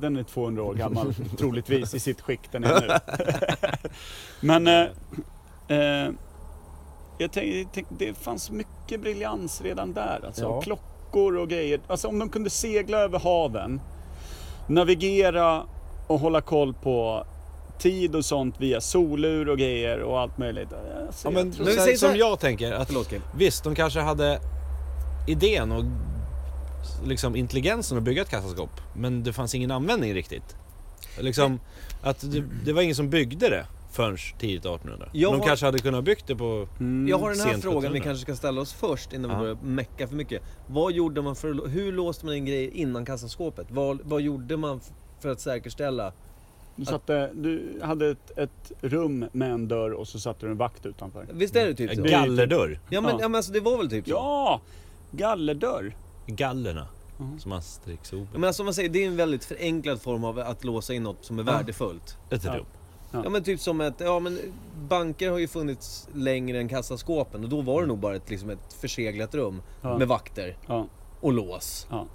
[SPEAKER 1] den är 200 år gammal troligtvis i sitt skick den är nu. Men eh, eh, jag tänkte, tänk, det fanns mycket briljans redan där. Alltså,
[SPEAKER 4] Ja.
[SPEAKER 1] Klockor och grejer. Alltså om de kunde segla över haven, navigera och hålla koll på tid och sånt via solur och grejer och allt möjligt. Alltså,
[SPEAKER 3] Ja,
[SPEAKER 1] jag
[SPEAKER 3] men
[SPEAKER 1] tror-
[SPEAKER 4] vi
[SPEAKER 3] så här,
[SPEAKER 4] säger så
[SPEAKER 3] som
[SPEAKER 4] här-
[SPEAKER 3] jag tänker, att
[SPEAKER 4] Förlåt, Kim.
[SPEAKER 3] visst, de kanske hade idén och s- liksom intelligensen att bygga ett kassaskåp, men det fanns ingen användning riktigt. Liksom, att det, det var ingen som byggde det förrän tidigt 1800.
[SPEAKER 4] Jag
[SPEAKER 3] de
[SPEAKER 4] har-
[SPEAKER 3] kanske hade kunnat byggt det på...
[SPEAKER 1] Mm.
[SPEAKER 4] Jag har den här
[SPEAKER 3] sent
[SPEAKER 4] frågan vi
[SPEAKER 3] 1700.
[SPEAKER 4] kanske ska ställa oss först innan vi
[SPEAKER 3] Ja.
[SPEAKER 4] börjar mecka för mycket. Vad gjorde man för Hur låste man in grejer innan kassaskåpet? Vad, vad gjorde man f- för att säkerställa?
[SPEAKER 1] Du, satte, du hade ett, ett rum med en dörr och så satte du en vakt utanför.
[SPEAKER 4] Visst är det typ
[SPEAKER 3] En
[SPEAKER 4] så?
[SPEAKER 1] Gall-
[SPEAKER 3] gallerdörr.
[SPEAKER 4] Ja men,
[SPEAKER 1] Ja.
[SPEAKER 4] ja, men alltså, det var väl typ så?
[SPEAKER 1] Ja! Gallerdörr.
[SPEAKER 3] Gallerna.
[SPEAKER 1] Mhm.
[SPEAKER 3] Som Asterix-opera.
[SPEAKER 4] Ja, Men alltså, om man säger, det är en väldigt förenklad form av att låsa in något som är värdefullt.
[SPEAKER 3] Ett
[SPEAKER 1] Ja.
[SPEAKER 3] rum.
[SPEAKER 1] Ja.
[SPEAKER 4] Ja men typ som ett, ja men banker har ju funnits längre än kassaskåpen och då var det nog bara ett, liksom ett förseglat rum
[SPEAKER 1] Ja.
[SPEAKER 4] med vakter
[SPEAKER 1] Ja.
[SPEAKER 4] och lås.
[SPEAKER 1] Ja.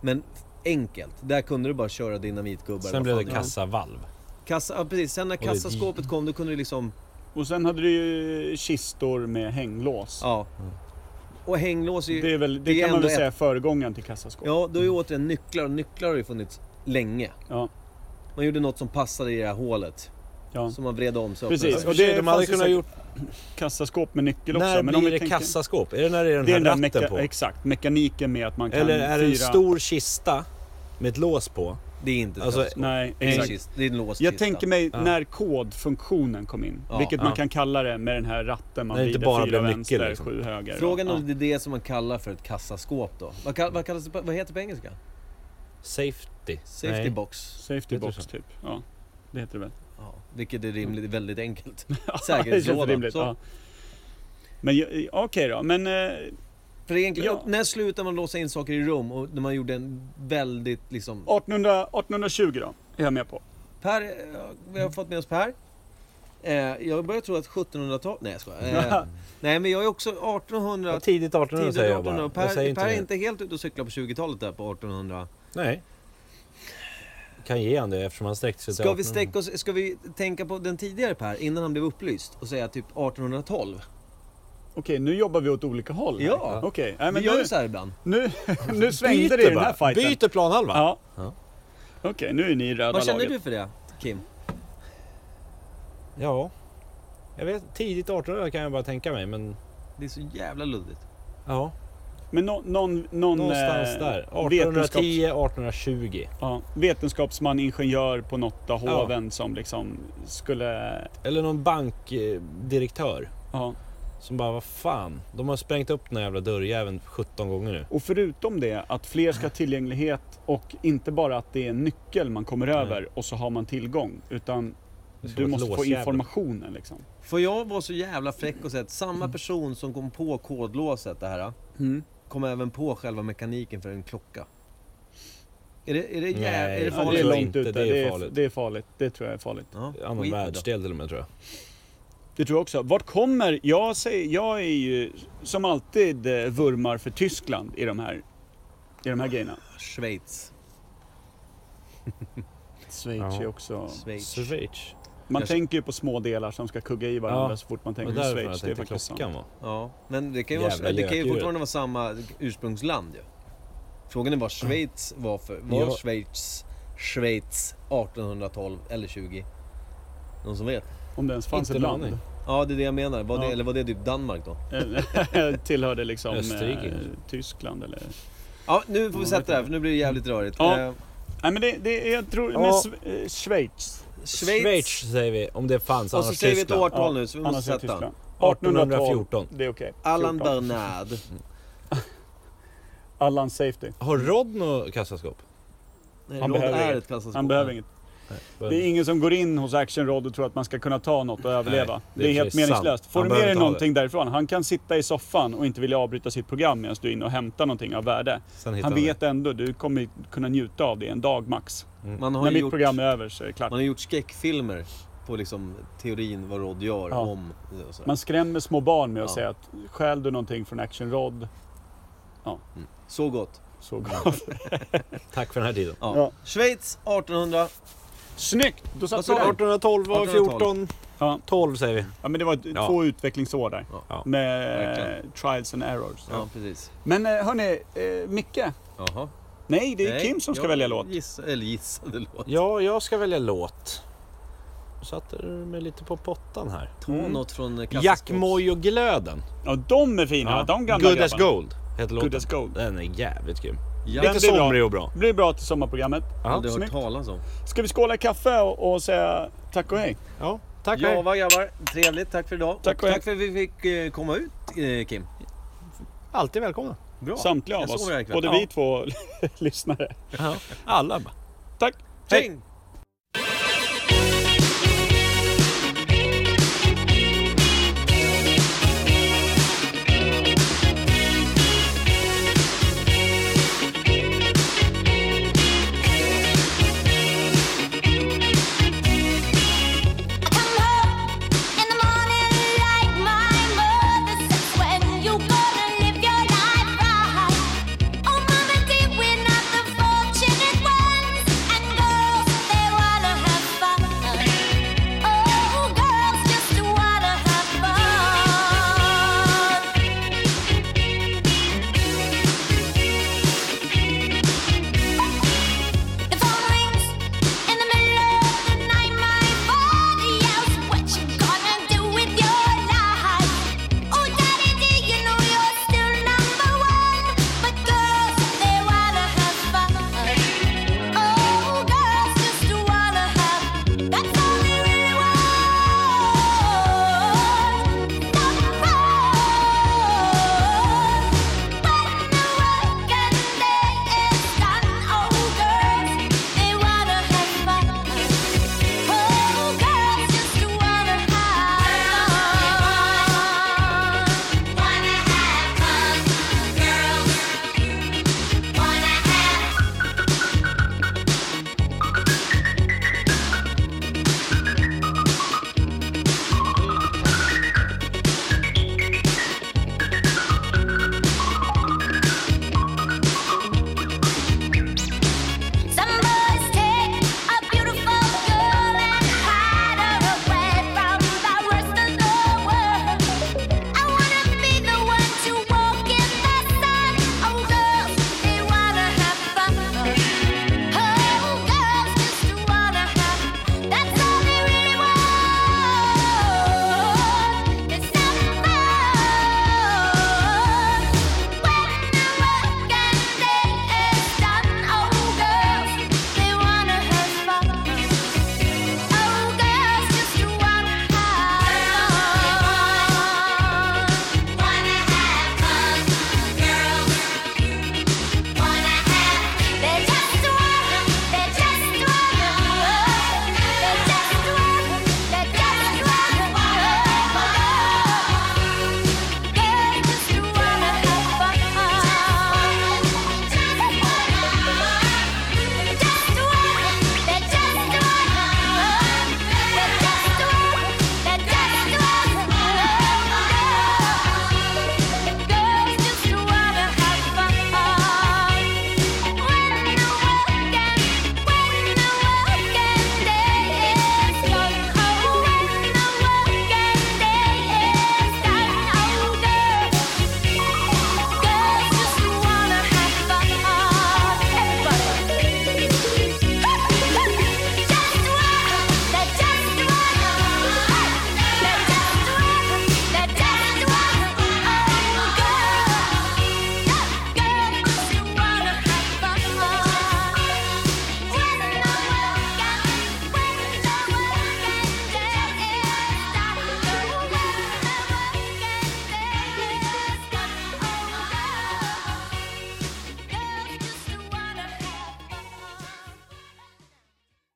[SPEAKER 4] Men enkelt, där kunde du bara köra dinamitgubbar.
[SPEAKER 3] Sen
[SPEAKER 4] vad
[SPEAKER 3] blev
[SPEAKER 4] fan
[SPEAKER 3] det
[SPEAKER 4] var.
[SPEAKER 3] kassavalv.
[SPEAKER 4] Kassa, ja, precis. Sen när
[SPEAKER 3] det-
[SPEAKER 4] kassaskåpet kom då kunde du liksom,
[SPEAKER 1] Och sen hade du ju kistor med hänglås.
[SPEAKER 4] ja. Och hänglås är ju,
[SPEAKER 1] Det, är väl, det,
[SPEAKER 4] det är
[SPEAKER 1] kan man
[SPEAKER 4] ändå
[SPEAKER 1] väl säga är föregångaren till kassaskåp.
[SPEAKER 4] ja då är ju återigen nycklar och nycklar har ju funnits länge.
[SPEAKER 1] Ja.
[SPEAKER 4] Man gjorde något som passade i det här hålet.
[SPEAKER 1] Ja.
[SPEAKER 4] Som man vred om så
[SPEAKER 1] Precis,
[SPEAKER 4] öppnades.
[SPEAKER 1] och det
[SPEAKER 3] de
[SPEAKER 1] fanns
[SPEAKER 3] hade
[SPEAKER 1] ju
[SPEAKER 3] kunnat
[SPEAKER 1] säkert
[SPEAKER 3] gjort...
[SPEAKER 1] Kassaskåp med nyckel också.
[SPEAKER 3] När
[SPEAKER 1] men
[SPEAKER 3] blir
[SPEAKER 1] om vi
[SPEAKER 3] det
[SPEAKER 1] tänker-
[SPEAKER 3] kassaskåp? Är det när det är den
[SPEAKER 1] Det är
[SPEAKER 3] här
[SPEAKER 1] den där
[SPEAKER 3] ratten
[SPEAKER 1] meka-
[SPEAKER 3] på?
[SPEAKER 1] Exakt, mekaniken med att man kan
[SPEAKER 3] Eller är det en
[SPEAKER 1] fyra-
[SPEAKER 3] stor kista med ett lås på?
[SPEAKER 4] Det är inte ett
[SPEAKER 3] Alltså,
[SPEAKER 4] kassaskåp.
[SPEAKER 1] Nej,
[SPEAKER 4] Det är en
[SPEAKER 1] exakt.
[SPEAKER 4] kist- Det är en låst
[SPEAKER 1] Jag
[SPEAKER 4] kista.
[SPEAKER 1] tänker mig
[SPEAKER 3] Ja.
[SPEAKER 1] när kodfunktionen kom in.
[SPEAKER 4] Ja,
[SPEAKER 1] vilket man
[SPEAKER 3] ja.
[SPEAKER 1] kan kalla det med den här ratten man
[SPEAKER 3] När det inte
[SPEAKER 1] vrider
[SPEAKER 3] bara
[SPEAKER 1] fyra
[SPEAKER 3] blev nyckel,
[SPEAKER 1] vänster,
[SPEAKER 3] liksom.
[SPEAKER 1] sju höger.
[SPEAKER 4] Frågan
[SPEAKER 1] ja.
[SPEAKER 4] om det är det som man kallar för ett kassaskåp då. Vad, kall, vad, kallas det, på- vad heter det på engelska?
[SPEAKER 3] Safety?
[SPEAKER 4] Safety
[SPEAKER 3] Nej.
[SPEAKER 4] box.
[SPEAKER 1] Safety
[SPEAKER 3] Heter det
[SPEAKER 1] box
[SPEAKER 3] så?
[SPEAKER 1] typ. Ja, det heter det väl.
[SPEAKER 4] Ja, vilket är
[SPEAKER 1] Mm.
[SPEAKER 4] rimligt, väldigt enkelt.
[SPEAKER 1] det känns
[SPEAKER 4] Säkerhetslåda.
[SPEAKER 1] rimligt.
[SPEAKER 4] Så,
[SPEAKER 1] Ja. Men ju- okej då, men eh,
[SPEAKER 4] För egentligen,
[SPEAKER 1] Ja.
[SPEAKER 4] när slutade man låsa in saker i rum och när man gjorde en väldigt liksom...
[SPEAKER 1] 1800, 1820 då, är jag med på.
[SPEAKER 4] Per, eh, vi har fått med oss Per. Eh, jag börjar tro att 1700-talet... Nej jag skojar. Eh, nej men jag är också 1800...
[SPEAKER 3] Tidigt 1800
[SPEAKER 4] Tidigt
[SPEAKER 3] säger jag bara.
[SPEAKER 4] 1800.
[SPEAKER 3] Jag
[SPEAKER 4] Per,
[SPEAKER 3] säger
[SPEAKER 4] per är
[SPEAKER 3] mer.
[SPEAKER 4] inte helt ute och cyklar på 20-talet där på 1800.
[SPEAKER 3] Nej. Kan ge han det eftersom han sträckte sig till
[SPEAKER 4] Ska vi,
[SPEAKER 3] 1800.
[SPEAKER 4] sträcka oss, ska vi tänka på den tidigare Per, innan han blev upplyst och säga typ 1812?
[SPEAKER 1] Okej, nu jobbar vi åt olika håll. här.
[SPEAKER 4] Ja.
[SPEAKER 1] Okej, nej,
[SPEAKER 4] Vi
[SPEAKER 1] men
[SPEAKER 4] gör
[SPEAKER 1] nu,
[SPEAKER 4] ju så här ibland.
[SPEAKER 1] nu, nu svängde det i den här
[SPEAKER 3] bara.
[SPEAKER 1] fighten.
[SPEAKER 3] Byter planhalva!
[SPEAKER 1] Ja.
[SPEAKER 3] Ja.
[SPEAKER 1] Okej, nu är ni i röda
[SPEAKER 4] Vad känner
[SPEAKER 1] laget.
[SPEAKER 4] du för det, Kim?
[SPEAKER 3] Ja. Jag vet, tidigt 1800 kan jag bara tänka mig men...
[SPEAKER 4] Det är så jävla luddigt.
[SPEAKER 3] Ja.
[SPEAKER 1] Men nå- någon, någon,
[SPEAKER 3] Någonstans
[SPEAKER 1] eh,
[SPEAKER 3] där.
[SPEAKER 1] vetenskaps-
[SPEAKER 3] 1810, 1820.
[SPEAKER 1] ja, vetenskapsman, ingenjör på något av hoven som liksom skulle...
[SPEAKER 3] Eller någon bankdirektör.
[SPEAKER 1] Ja.
[SPEAKER 3] Som bara, vad fan. De har sprängt upp den här jävla dörrjäveln 17 gånger nu.
[SPEAKER 1] Och förutom det, att fler ska ha tillgänglighet och inte bara att det är en nyckel man kommer över och så har man tillgång. Utan
[SPEAKER 3] Det ska
[SPEAKER 1] du
[SPEAKER 3] vara ett
[SPEAKER 1] måste få
[SPEAKER 3] låsjävel.
[SPEAKER 1] informationen liksom.
[SPEAKER 4] Får jag vara så jävla fräck och säga att samma person som kom på kodlåset det här,
[SPEAKER 1] Mm.
[SPEAKER 4] kom även på själva mekaniken för en klocka. Är det, är det, jäv...
[SPEAKER 3] Nej,
[SPEAKER 1] Ja,
[SPEAKER 3] det
[SPEAKER 4] är det
[SPEAKER 1] det
[SPEAKER 4] farligt?
[SPEAKER 1] är
[SPEAKER 3] tror jag
[SPEAKER 1] långt
[SPEAKER 3] inte.
[SPEAKER 1] ute.
[SPEAKER 3] Det är farligt.
[SPEAKER 1] det är farligt. Det tror jag är farligt.
[SPEAKER 4] Ja,
[SPEAKER 3] Annan
[SPEAKER 4] skit i det.
[SPEAKER 3] världsdel till och med tror jag.
[SPEAKER 1] Det tror jag också. Vart kommer... Jag, säger, jag är ju som alltid eh, vurmar för Tyskland i de här, i de här grejerna.
[SPEAKER 4] Schweiz.
[SPEAKER 1] Schweiz
[SPEAKER 3] Ja.
[SPEAKER 1] är också...
[SPEAKER 4] Schweiz.
[SPEAKER 3] Schweiz.
[SPEAKER 1] Man
[SPEAKER 4] Jag-
[SPEAKER 1] tänker ju på små delar som ska kugga i varandra
[SPEAKER 3] Ja,
[SPEAKER 1] så fort man
[SPEAKER 3] Det
[SPEAKER 1] tänker
[SPEAKER 3] var
[SPEAKER 1] på
[SPEAKER 3] därför jag
[SPEAKER 1] Schweiz. Det är
[SPEAKER 3] tänkte
[SPEAKER 1] faktiskt sant.
[SPEAKER 3] klockan var.
[SPEAKER 4] Ja, men det kan ju, vara,
[SPEAKER 3] Jävla
[SPEAKER 4] det kan ju
[SPEAKER 3] gökdjur.
[SPEAKER 4] fortfarande vara samma ursprungsland ju. Frågan är vad Schweiz var för. Var
[SPEAKER 3] Ja.
[SPEAKER 4] Schweiz Schweiz 1812 eller 20? Någon som vet?
[SPEAKER 1] Om det ens fanns
[SPEAKER 3] Inte
[SPEAKER 1] ett
[SPEAKER 3] en
[SPEAKER 1] land.
[SPEAKER 3] aning.
[SPEAKER 4] Ja, det är det jag menar. Var det,
[SPEAKER 1] Ja.
[SPEAKER 4] Eller var det typ Danmark då?
[SPEAKER 1] Tillhörde liksom
[SPEAKER 3] Österrike
[SPEAKER 1] eh,
[SPEAKER 3] kanske.
[SPEAKER 1] Tyskland eller...
[SPEAKER 4] Ja, nu får vi
[SPEAKER 1] Ja,
[SPEAKER 4] sätta
[SPEAKER 1] vet
[SPEAKER 4] det här för nu blir det jävligt rörigt.
[SPEAKER 1] Ja.
[SPEAKER 4] Eh,
[SPEAKER 1] Nej men det, det jag tror...
[SPEAKER 3] Ja.
[SPEAKER 1] Men Sve- eh, Schweiz.
[SPEAKER 4] Schweiz.
[SPEAKER 3] säger vi, om det fanns.
[SPEAKER 4] Och så
[SPEAKER 3] annars
[SPEAKER 4] säger vi ett
[SPEAKER 3] Tyskland.
[SPEAKER 4] årtal nu så vi
[SPEAKER 1] Annars är
[SPEAKER 4] måste sätta.
[SPEAKER 1] Tyskland.
[SPEAKER 3] 1814.
[SPEAKER 1] Det är okej.
[SPEAKER 4] Allan
[SPEAKER 1] 14.
[SPEAKER 4] Bernard.
[SPEAKER 1] Allan Safety.
[SPEAKER 3] Har Rod något kassaskåp?
[SPEAKER 4] Nej,
[SPEAKER 1] Han
[SPEAKER 4] Rod
[SPEAKER 1] behöver
[SPEAKER 4] är
[SPEAKER 1] inget.
[SPEAKER 4] ett kassaskåp.
[SPEAKER 1] Han behöver inget. Det är ingen som går in hos Action Rod och tror att man ska kunna ta något och överleva.
[SPEAKER 3] det
[SPEAKER 1] det, är
[SPEAKER 3] är
[SPEAKER 1] helt
[SPEAKER 3] precis
[SPEAKER 1] meningslöst.
[SPEAKER 3] sant.
[SPEAKER 1] Får
[SPEAKER 3] Han
[SPEAKER 1] du med
[SPEAKER 3] behöver
[SPEAKER 1] dig
[SPEAKER 3] inte ha
[SPEAKER 1] någonting därifrån, han kan sitta i soffan och inte vilja avbryta sitt program medan du är inne och hämtar någonting av värde.
[SPEAKER 3] Sen hittar
[SPEAKER 1] Han
[SPEAKER 3] vi.
[SPEAKER 1] vet ändå, du kommer kunna njuta av det en dag max.
[SPEAKER 4] Man har
[SPEAKER 1] När
[SPEAKER 4] ju
[SPEAKER 1] mitt
[SPEAKER 4] gjort,
[SPEAKER 1] program är över så är det klart.
[SPEAKER 4] man har gjort skräckfilmer på liksom teorin vad Rod gör
[SPEAKER 1] Ja.
[SPEAKER 4] om... Och sådär.
[SPEAKER 1] Man skrämmer små barn med att
[SPEAKER 4] Ja.
[SPEAKER 1] säga att stjäl du någonting från Action Rod,
[SPEAKER 4] Så gott.
[SPEAKER 1] Så gav.
[SPEAKER 3] Tack för den här tiden.
[SPEAKER 4] Ja.
[SPEAKER 1] Ja.
[SPEAKER 4] Schweiz 1800.
[SPEAKER 1] Snyggt! Då
[SPEAKER 4] Vad
[SPEAKER 1] satt
[SPEAKER 4] sa
[SPEAKER 1] vi
[SPEAKER 4] du?
[SPEAKER 1] där.
[SPEAKER 3] 1812 var 14,
[SPEAKER 4] 1812.
[SPEAKER 1] Ja.
[SPEAKER 3] 12 säger vi.
[SPEAKER 1] Ja, men det var ett-
[SPEAKER 3] Ja.
[SPEAKER 1] två utvecklingsår där.
[SPEAKER 3] Ja.
[SPEAKER 1] Med
[SPEAKER 4] Verkligen.
[SPEAKER 1] trials and errors.
[SPEAKER 4] Ja, precis.
[SPEAKER 1] Men eh, hörni, eh, Micke.
[SPEAKER 4] Jaha.
[SPEAKER 1] Nej, det är
[SPEAKER 4] Nej,
[SPEAKER 1] Kim som ska
[SPEAKER 4] jag
[SPEAKER 1] välja låt.
[SPEAKER 4] Giss, eller gissade låt.
[SPEAKER 3] Ja, jag ska välja låt. Jag satte mig lite på pottan här.
[SPEAKER 4] Ta
[SPEAKER 1] Mm.
[SPEAKER 4] något från eh, kassaskåpet.
[SPEAKER 3] Jack Moj och Glöden.
[SPEAKER 1] Ja, de är fina. De gamla
[SPEAKER 3] Good as
[SPEAKER 1] grabbarna.
[SPEAKER 3] Gold heter låten.
[SPEAKER 1] Good as gold.
[SPEAKER 3] Den är jävligt grym.
[SPEAKER 4] Ja,
[SPEAKER 1] Den
[SPEAKER 3] Lite
[SPEAKER 1] blir bra.
[SPEAKER 3] somrig och bra.
[SPEAKER 1] Det blir bra till sommarprogrammet.
[SPEAKER 4] har du hört
[SPEAKER 1] snyggt.
[SPEAKER 4] talas om.
[SPEAKER 1] Ska vi skåla kaffe och, och säga tack och hej?
[SPEAKER 3] Ja, tack och
[SPEAKER 4] Ja,
[SPEAKER 3] hej.
[SPEAKER 4] vad grabbar. Trevligt. Tack för idag.
[SPEAKER 1] Tack och
[SPEAKER 4] och
[SPEAKER 1] hej.
[SPEAKER 4] tack för att vi fick eh, komma ut, eh, Kim.
[SPEAKER 3] Alltid välkomna.
[SPEAKER 4] Bra.
[SPEAKER 1] Samtliga av
[SPEAKER 4] jag
[SPEAKER 1] oss.
[SPEAKER 4] sover här ikväll.
[SPEAKER 1] Både
[SPEAKER 4] Ja.
[SPEAKER 1] vi två lyssnare.
[SPEAKER 3] Alla bara.
[SPEAKER 1] Tack!
[SPEAKER 4] Tjing!